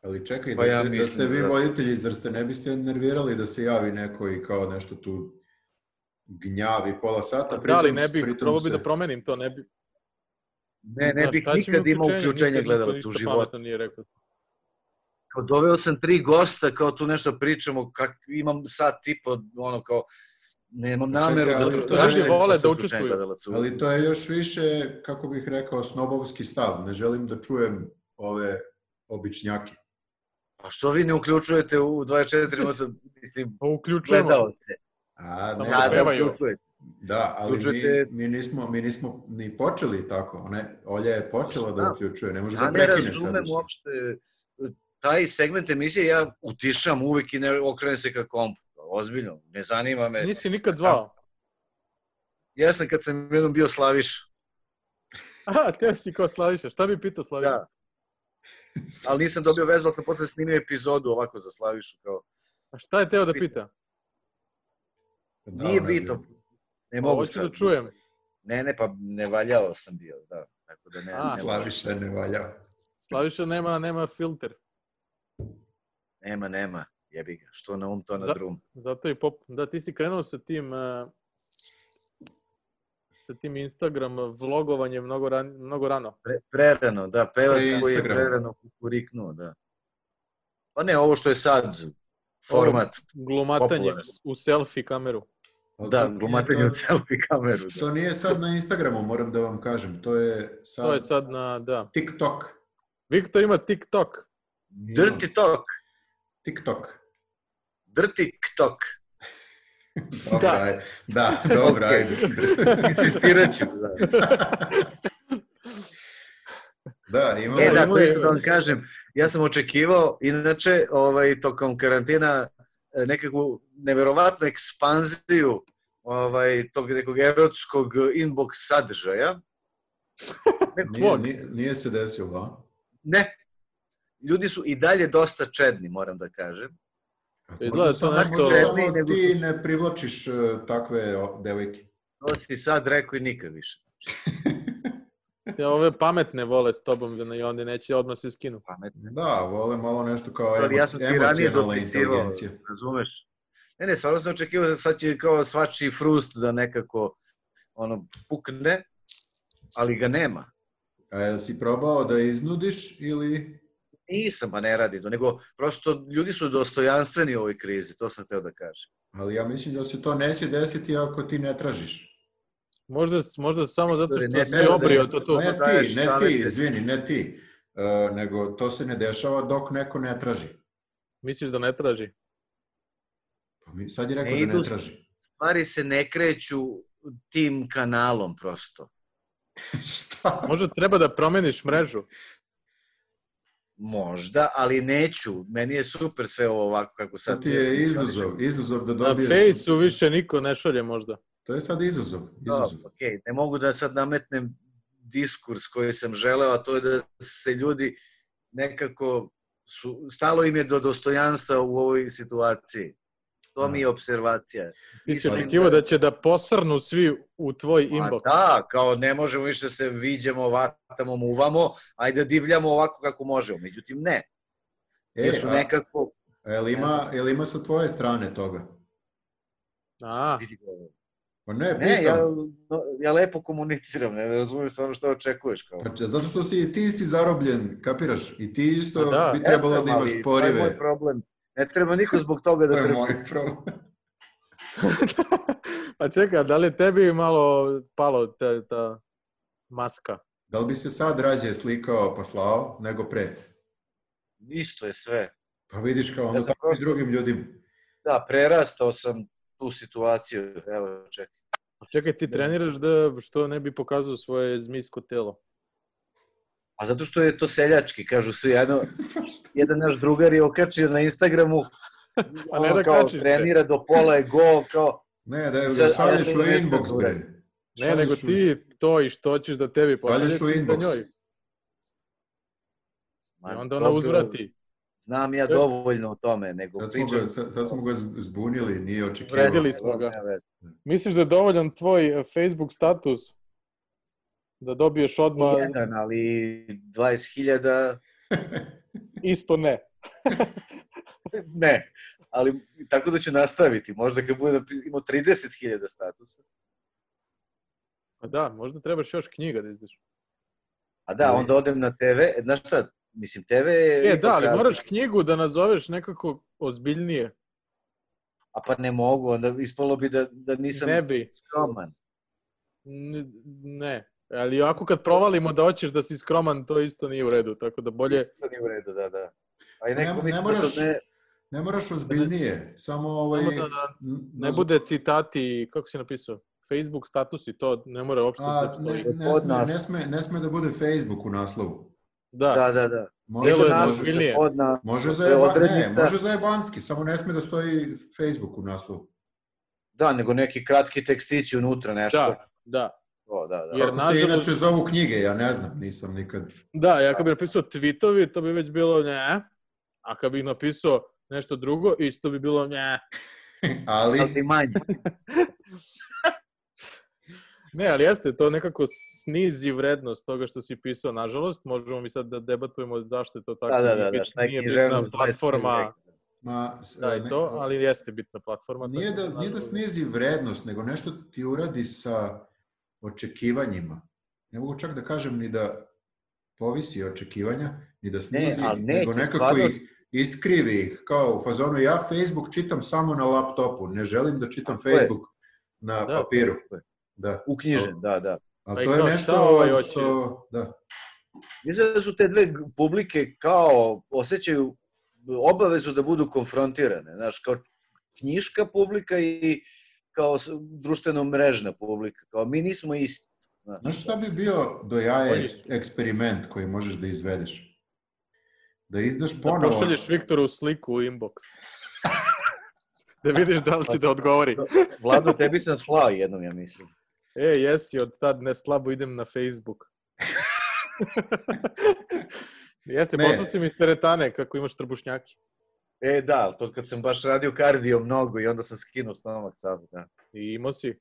Ali čekaj,
Pa
da,
ja
ste, da ste
mislim
vi
da-
voditelji, zar se ne biste nervirali da se javi neko i kao nešto tu gnjavi pola
Da,
sata?
ali
Pa, pritom-
ne bih,
pritom
probao bi
se-
da promenim to, ne bi...
Ne, ne
Da,
bih
šta će mi
nikad imao
uključenje?
uključenje
Nikad niko ništa
gledalaca u životu.
pametno Nije rekao.
Kao doveo sam tri gosta, kao tu nešto pričamo, kak, imam sat tipa, ono kao, nemam
Čekaj,
nameru da...
ali
da-
to
zašto
ljudi
ne
vole
postoji
da
uključenje
učestvuju.
gledalaca u-
Ali to je još više, kako bih rekao, snobovski stav. Ne želim da čujem ove običnjake.
A što vi ne uključujete u 24 minuta, mislim,
Pa uključujemo.
gledalce?
A,
Samo
ne,
da
Sada
pevaju.
uključujete.
Da, ali mi,
Uključujete-
mi, nismo, mi nismo ni počeli tako. Ona, je- Olja je počela da
Znam.
uključuje, ne može
Ja
da
ne
prekine sad.
razumem uopšte taj segment emisije, ja utišam uvek i ne okrenem se ka kompu. Ozbiljno, ne zanima me.
Nisi nikad zvao.
Da. Ja sam kad sam jednom bio Slaviš,
A, te si kao Slaviša. Šta bi pitao Slaviša?
Da. ali nisam dobio vezu, ali sam posle snimio epizodu ovako za Slavišu. Kao,
A šta je teo da pita?
Da,
Nije
ona je
bitno.
bila-
ne mogu
Hoću da
sad.
čujem.
Ne, ne, pa nevaljao sam bio, da. Tako da ne,
A.
ne
Slaviša ne valja.
Slaviša nema, nema filter.
nema, nema. Jebi ga, što na um, to na
Za-
drum.
Zato i pop... Da, ti si krenuo sa tim... Uh, sa tim Instagram vlogovanjem mnogo, ran, mnogo rano.
Pre, prerano, da, pevac
Pre
koji je
Instagrama.
prerano kukuriknuo, da. Pa ne, ovo što je sad format,
Glumatanje
Popularno.
u selfie kameru.
Ali to
da,
nije
glumatanje
to-
u selfie kameru. Da.
To nije sad na Instagramu, moram da vam kažem. To je sad,
To je sad na, da.
TikTok.
Viktor ima TikTok.
Dirty talk,
TikTok.
dirty tok.
Dobra,
Da.
da. da, dobro,
Ok.
ajde.
Insistirat ću, da.
Da, imamo...
E, da,
Imao je-
to da vam kažem, ja sam očekivao, inače, ovaj, tokom karantina, e, nekakvu neverovatnu ekspanziju ovaj, tog nekog erotskog inbox sadržaja.
nije, nije, nije se da. desilo, a?
Ne, ljudi su i dalje dosta čedni, moram da kažem.
A
E, Izgleda da
možda
to
samo-
nešto-
možda
Ženi,
Samo
nego-
ti ne privlačiš e, takve o- devojke.
To si sad rekao i nikad više.
Te ove pametne vole s tobom i onda neće odmah se skinu.
Pametno.
Da, vole malo nešto kao
Ali ja sam
emoci,
ti ranije
emocionalna
dopisivao,
inteligencija.
razumeš? Ne, ne, stvarno sam očekivao da sad će kao svačiji frust da nekako ono, pukne, ali ga nema.
A jel si probao da iznudiš ili...
Nisam, pa ne radi to, nego prosto ljudi su dostojanstveni u ovoj krizi, to sam teo da kažem.
Ali ja mislim da se to neće desiti ako ti ne tražiš.
Možda, možda samo zato
Ne, ne,
što
ne, ne,
si obrio to tu.
Ne
Ako
ti,
daješ
ne ti,
savete.
izvini, ne ti. E, nego to se ne dešava dok neko ne traži.
Misliš da ne traži?
Pa mi sad je rekao
Ne
da ne
idu-
traži.
Stvari se ne kreću tim kanalom prosto.
Šta?
Možda treba da promeniš mrežu.
Možda, ali neću. Meni je super sve ovo ovako kako
To
sad...
ti je izazov, izazov da
Na
dobiješ...
fejsu više niko ne šalje možda.
To je sad izazov,
Da,
izazov.
ok, ne mogu da sad nametnem diskurs koji sam želeo, a to je da se ljudi nekako su, stalo im je do dostojanstva u ovoj situaciji. To
Da.
mi je observacija.
Ti si
Mislim
očekivao da će da posrnu svi u tvoj inbox.
Pa da, kao ne možemo više da se viđamo, vatamo, muvamo, ajde da divljamo ovako kako možemo. Međutim, ne.
E,
Jer su
a-
nekako...
a jel ima, jel ima sa tvoje strane toga?
A,
Pa ne,
Ne, ja,
pitam.
no, ja lepo komuniciram, ne razumijem stvarno što očekuješ. Kao.
Pa će- Zato što si i ti si zarobljen, kapiraš? I ti isto
Pa da.
bi trebalo da
Jesam,
imaš
E, ali To je moj
porive.
problem. Ne treba niko zbog toga da
To je
trpi.
moj problem.
pa čekaj, da li je tebi malo palo ta, ta maska?
Da li bi se sad rađe slikao pa slao nego pre?
Isto je sve.
Pa vidiš kao onda
znam
tako i
prosto.
drugim ljudima.
Da, prerastao sam tu situaciju. Evo, čekaj.
Pa Čekaj, ti treniraš da što ne bi pokazao svoje zmijsko telo.
A zato što je to seljački, kažu svi. Jedno,
Pa
jedan naš drugar je okačio na Instagramu.
A ne
ono,
da
kao,
kačiš, bre.
Trenira do pola je go, kao...
Ne, da
Sad-
ga
ali
šalješ u
to je
inbox,
nešto
bre.
Ne,
Šalješ
nego
u-
ti to i što ćeš da tebi pošalje,
Šalješ u
ti da
inbox.
njoj.
ma,
I onda ona
dobro,
uzvrati.
Znam ja dovoljno o tome, nego
Sad smo,
pričam.
ga, sad, sad smo ga zbunili, nije očekivao.
Vredili smo ga. Misliš da je dovoljan tvoj e, Facebook status da dobiješ odmah
Pa Jedan, ali 20.000
isto ne?
ne. Ali tako da ću nastaviti. Možda kad budem imao 30.000 statusa.
Pa da, možda trebaš još knjiga da izdaš.
A da, onda odem na TV. Znaš šta, mislim, TV je...
E,
ipak
da, ali
razlika.
moraš knjigu da nazoveš nekako ozbiljnije.
A pa ne mogu, onda ispalo bi da, da nisam
Ne bi.
skroman.
N- Ne. Ali ako kad provalimo da hoćeš da si skroman, to isto nije u redu. Tako da bolje...
To nije u redu, da, da. A i
Ne-
neko
ne
misli da
moraš-
sam ne...
Ne moraš ozbiljnije, samo ovaj...
Samo da, da
n-
ne
nazv-
bude citati, kako si napisao, Facebook statusi, to ne mora uopšte da
A,
postoji.
ne, ne,
Pod
sme,
nas.
ne, sme, ne sme da bude Facebook u naslovu.
Da,
Da, da, da.
Može,
Delo je
može-
nazv ili- ozbiljnije.
Od na...
može, za
To je
jeba- ne,
odrednica.
može za jebanski, samo ne sme da stoji Facebook u naslovu.
Da, nego neki kratki tekstići unutra, nešto.
da, da.
O, da, da.
Jer-
Kako se
nažalost-
inače zovu knjige, ja ne znam, nisam nikad.
Da, ja kad bih napisao tweetovi, to bi već bilo ne, a kad bih napisao nešto drugo, isto bi bilo ne.
Ali,
Ali manje.
Ne, ali jeste, to nekako snizi vrednost toga što si pisao, nažalost. Možemo mi sad da debatujemo zašto je to tako.
Da, da,
nije
da. da.
bit- nije
književnost,
bitna platforma,
ma, s-
da i
ne-
to, ali jeste bitna platforma.
Nije
tako
da, nije da
nažalost.
snizi vrednost, nego nešto ti uradi sa očekivanjima. Ne mogu čak da kažem ni da povisi očekivanja, ni da snizi,
ali neće,
nego nekako
stvarno-
ih iskrivi ih, kao u fazonu ja Facebook čitam samo na laptopu, ne želim da čitam
Tako je.
Facebook na
Da,
papiru.
tako je.
Da,
Uknjižen, da, da.
Pa
ali
i
to je
kao,
nešto
šta ovaj hoće?
što... Da.
Mislim da su te dve g- publike kao osjećaju obavezu da budu konfrontirane, znaš, kao knjiška publika i kao s- društveno-mrežna publika. Kao mi nismo isti. Znaš,
Znaš šta bi bio do jaja
Bolje.
eks- eksperiment koji možeš da izvedeš? Da izdaš
Da
ponovo...
pošalješ Viktoru sliku u inbox. da vidiš da li će da odgovori.
Vlado, tebi sam slao jednom, ja mislim.
E, jesi, od tad ne slabo idem na Facebook. jeste,
Ne.
poslao si mi teretane kako imaš trbušnjaki.
E, da, ali to kad sam baš radio kardio mnogo i onda sam skinuo stomak sad, da.
I imao si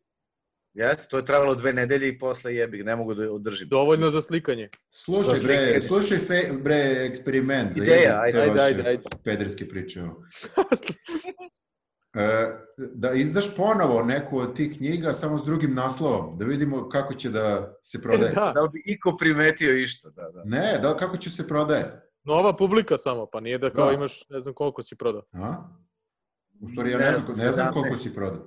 Jeste, to je trajalo dve nedelje i posle jebi, ga, ne mogu da održim.
dovoljno za slikanje.
Slušaj
Za
bre,
slike.
slušaj fe, bre eksperiment za
Ideja, ajde,
jebem te
ajde,
vaše
ajde, ajde.
pederske priče. ovo.
Da,
E, da izdaš ponovo neku od tih knjiga samo s drugim naslovom, da vidimo kako će da se prodaje.
da,
Da li bi iko primetio išta, da, da.
Ne, da kako će se prodaje.
nova publika samo, pa nije da kao
Da.
imaš ne znam koliko si prodao.
A? U stvari ja ne, znam, ne znam koliko si prodao.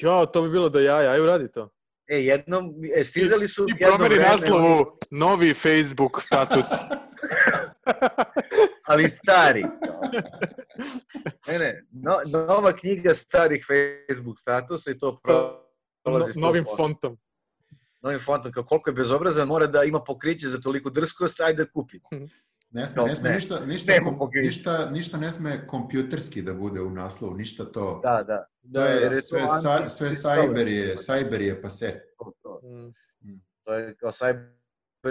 Jo, to bi bilo da ja, aj uradi to.
E, jednom, e, stizali su...
Ti
jedno
promeni
vreme-
naslovu novi Facebook status.
ali stari. Ne, ne, no, nova knjiga starih Facebook statusa i to prolazi
No- novim
100%.
fontom.
novim fontom. Kao koliko je bezobrazan, mora da ima pokriće za toliko drskost, ajde da kupi.
Ne sme, ne sme
Ne.
ništa, ništa,
Ne,
kom-
pokrivi.
ništa, ništa ne sme kompjuterski da bude u naslovu, ništa to.
Da, da.
to je,
jer to
sve,
anti-
sa, sve cyber je, cyber je pa pase.
To, to.
Mm.
To je kao cyber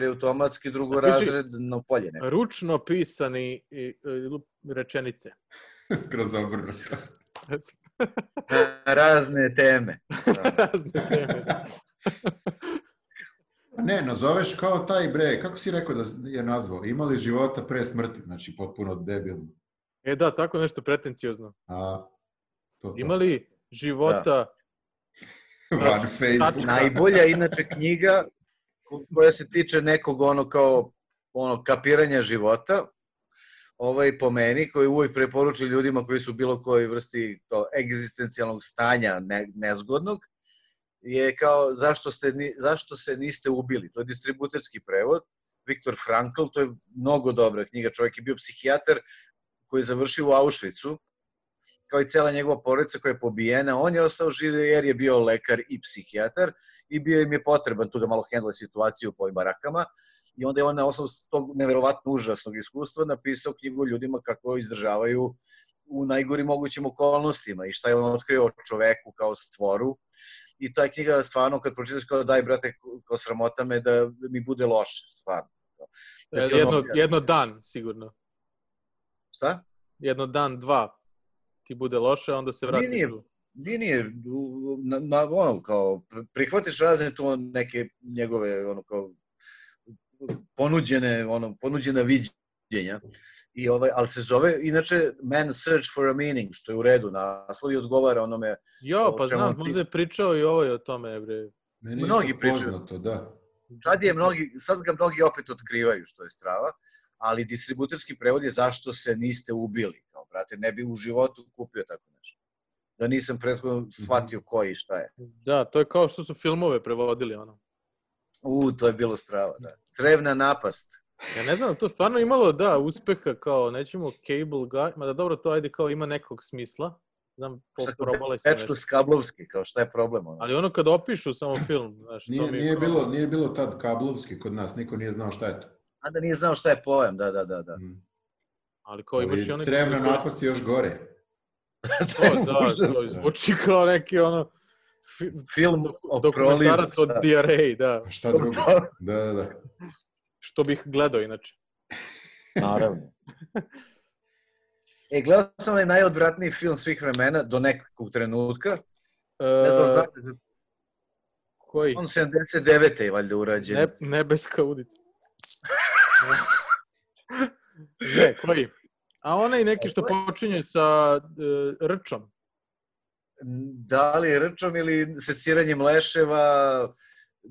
je automatski
Znači-
drugorazredno polje. Ne?
Ručno pisani i, i- rečenice.
Skroz obrnuto.
Na razne teme. Da.
Razne teme.
Ne, nazoveš kao taj bre, kako si rekao da je nazvao? Imali života pre smrti, znači potpuno debilno.
E da, tako nešto pretenciozno.
A, to, to.
Imali
Da.
života...
Van Facebooka.
Najbolja inače knjiga koja se tiče nekog ono kao ono kapiranja života, ovaj po meni koji uvijek preporučuju ljudima koji su u bilo kojoj vrsti to egzistencijalnog stanja ne, nezgodnog je kao zašto, ste, ni- zašto se niste ubili. To je distributerski prevod. Viktor Frankl, to je mnogo dobra knjiga. Čovjek je bio psihijatar koji je završio u Auschwitzu, kao i cela njegova porodica koja je pobijena. On je ostao živ jer je bio lekar i psihijatar i bio im je potreban tu da malo hendle situaciju po ovim barakama. I onda je on na osnovu tog neverovatno užasnog iskustva napisao knjigu ljudima kako izdržavaju u najgorim mogućim okolnostima i šta je on otkrio o čoveku kao stvoru. I ta knjiga stvarno kad pročitaš kao daj brate kao sramota me da mi bude loše stvarno. Da ti ono-
E, jedno, jedno dan, sigurno.
Šta?
Jedno dan, dva ti bude loše, onda se vratiš.
Nije, nije.
u-
Nije, nije, u- na, na, ono, kao, pr- prihvatiš razne tu neke njegove, ono, kao, ponuđene, ono, ponuđena viđenja. I ovaj, ali se zove, inače, Man Search for a Meaning, što je u redu naslov i odgovara onome,
Jo,
O
pa
čemu
znam,
ti-
možda je pričao i ovo o tome, bre.
Meni je
Mnogi
isto
pričaju.
Poznato, da.
sad, je mnogi, sad ga mnogi opet otkrivaju, što je strava, ali distributerski prevod je zašto se niste ubili, kao, brate, ne bi u životu kupio tako nešto. Da nisam prethodno shvatio ko je i šta je.
Da, to je kao što su filmove prevodili, ono.
U, to je bilo strava, da. Crevna napast.
Ja ne znam, to stvarno imalo, da, uspeha kao, nećemo cable guy, mada dobro, to ajde kao ima nekog smisla. Znam, po-
Sad,
probali su
Dečko
nešto.
Skablovski, kao šta je problem? Ono?
Ali ono kad opišu samo film, znaš, to
Nije,
mi je
nije,
kao-
bilo, nije bilo tad kablovski kod nas, niko nije znao šta je to.
A da nije znao šta je pojam, da, da, da. da.
Mm.
Ali kao imaš i
Ali
one...
crevna
koji-
napast je još gore.
To je
To, da,
užas.
to zvuči kao neki ono... fi-
Film
dok-
o prolivu.
Dokumentarac od
da.
diareji, da.
A Pa šta drugo? Da, da, da.
Što bih gledao inače.
Naravno. E, gledao sam onaj najodvratniji film svih vremena, do nekog trenutka. Ne znam,
E,
znate,
koji?
on 79. je valjda urađen.
Ne, nebeska udica. ne, koji? A onaj neki što počinje sa e, rčom.
Da li rčom ili seciranjem leševa,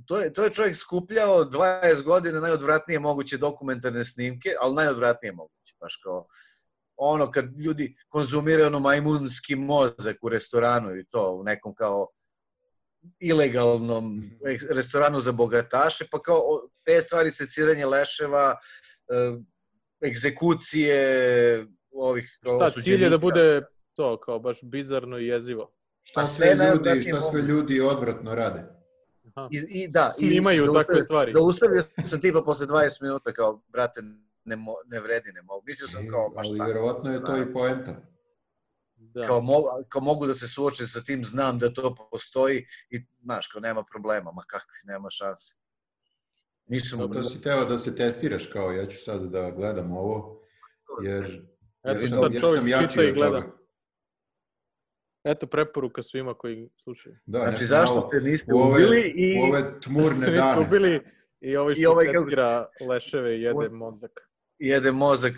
to je, to je čovjek skupljao 20 godina najodvratnije moguće dokumentarne snimke, ali najodvratnije moguće, baš kao ono kad ljudi konzumiraju ono majmunski mozak u restoranu i to u nekom kao ilegalnom
Mhm.
eks- restoranu za bogataše, pa kao o- te stvari seciranje leševa, e, egzekucije ovih kao
Šta, cilj je da
osuđenika.
bude to, kao baš bizarno i jezivo.
Šta
Pa sve
sve ljudi,
najodvratnije
šta sve
moguće.
ljudi odvratno rade.
Aha.
I, i da, i
Snimaju
zaustavio-
takve stvari.
Zaustavio sam tipa posle 20 minuta kao, brate, ne, mo, ne vredi, ne mogu. Mislio sam kao, pa baš
E, Ali
tako.
vjerovatno je to i poenta.
Da.
Kao, mo, kao mogu da se suočim sa tim, znam da to postoji i, znaš, kao nema problema, ma kakvi, nema šanse. Nisam
Zato si teo da se testiraš kao ja ću sad da gledam ovo, jer, jer,
Eto,
sam,
sad
jer sam
čovjek
jači
čita i
od
gleda.
toga.
Eto, preporuka svima koji slušaju.
Da,
Znači,
nešto
zašto
malo
se niste
u ove-
ubili i...
u ove tmurne
Se nismo
dane.
bili i ovaj
I
što
ovaj
ovaj
kako-
setira leševe i jede
Ovo-
mozak.
jede mozak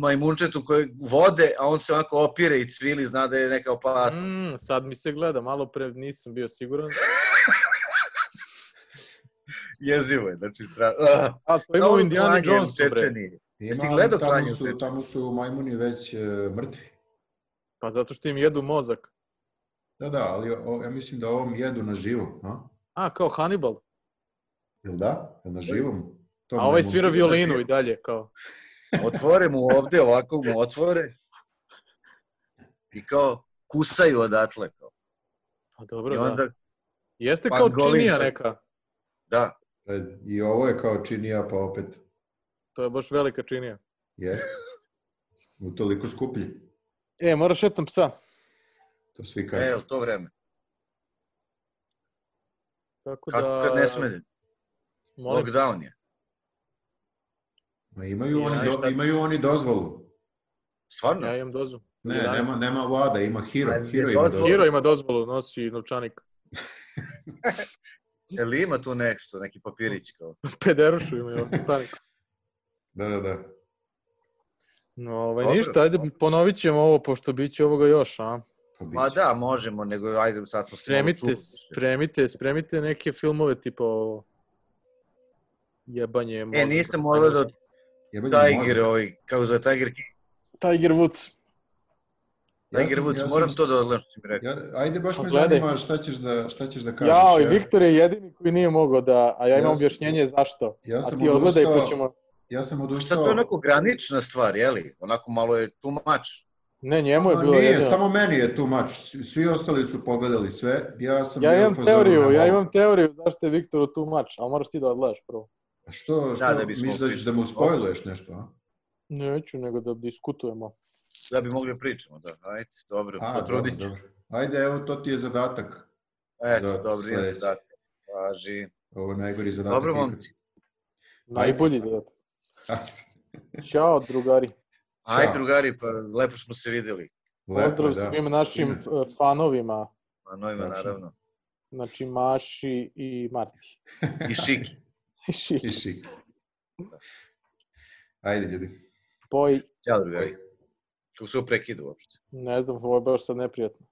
majmunčetu koje vode, a on se ovako opire i cvili, zna da je neka opasnost.
Mm, sad mi se gleda, malo pre nisam bio siguran.
Jezivo je, znači strašno.
A to ima u Pa Indiana Jonesu, bre.
Ima,
Jesi
ali
gledao
tamo
Klanju
su,
Petra?
tamo su majmuni već e, mrtvi.
Pa zato što im jedu mozak.
Da, da, ali o, ja mislim da ovom jedu na živo. A?
A, kao Hannibal.
Jel da? Jel na živom? To
A ovaj
majmun-
svira violinu i dalje, kao.
otvore mu ovde, ovako mu otvore i kao kusaju odatle. Kao.
Pa dobro,
I onda,
da. Jeste
Pa
kao
golim
činija
se.
neka.
da,
E, I ovo je kao činija, pa opet.
To je baš velika činija.
Jest. Utoliko skuplji.
E, moraš šetam psa.
To svi
E,
kažu.
jel to vreme?
Tako
Kako
da,
kad ne smeljem?
Molim,
Lockdown je.
Ma imaju,
I
oni,
znaš
do-
šta-
imaju oni dozvolu.
Stvarno?
ja imam dozvolu.
Ne,
11.
nema, nema vlada, ima Hiro.
Ali je
Hiro ima
dozvolu.
dozvolu.
Hiro ima dozvolu, nosi novčanik.
Jel ima tu nešto, neki papirić kao?
Pederušu ima novčanik.
Da, da, da.
No, ovaj,
Dobro.
ništa, ajde ponovit ćemo ovo, pošto bit će ovoga još, a?
Pa bit
Ma
će.
da, možemo, nego ajde sad smo se malo
Spremite,
čuli.
spremite, spremite neke filmove tipa ovo jebanje mozga.
E, nisam morao da
Jebeni
Tiger,
mozak.
ovaj, kako zove Tiger King,
Tiger Woods.
Ja
Tiger
sam-
Woods,
ja sam-
moram to da odgledam što si mi rekao.
Ja, ajde, baš me
Pa gledaj.
zanima šta ćeš da, šta ćeš da kažeš.
Jao, i
ja,
Viktor je jedini koji nije mogao da, a ja imam
Ja sam-
objašnjenje zašto.
ja
A
sam
ti odgledaj pa
odustao,
ćemo...
ja sam
Šta
odustao.
to je onako granična stvar, jeli? Onako malo je tumač.
Ne, njemu je
A
bilo
nije,
jedino.
samo meni je tu mač. Svi- Svi ostali su pogledali sve. Ja sam
Ja
bio u
imam
fazonu,
teoriju,
ne
ja
mogu.
imam teoriju zašto je Viktoru tu mač, ali moraš ti da odgledaš prvo.
A Što, što
Da, da
da
bismo
misliš da ćeš da mu spojluješ nešto, a?
Neću, nego da diskutujemo.
Da bi mogli pričamo, da. Ajde, dobro,
A,
potrudit ću.
dobro, dobro. Ajde, evo, to ti je zadatak.
Eto,
Za
dobro, idem
sledeći.
da važi.
Ovo je najgori zadatak.
Dobro, momci.
ikad.
Najbolji za...
Ajde.
Ćao, drugari.
Ajde,
Ćao.
drugari, pa lepo smo se videli.
Lepo,
Pozdrav
da.
svim našim
Ime.
eh, fanovima,
Pa novima,
Tačno.
naravno.
znači Maši i Marti. Znači,
I Šiki.
I šik. Ajde, ljudi.
Boj,
Ćao, drugari. Kako se ovo prekidu uopšte?
ne znam, ovo je baš sad neprijatno.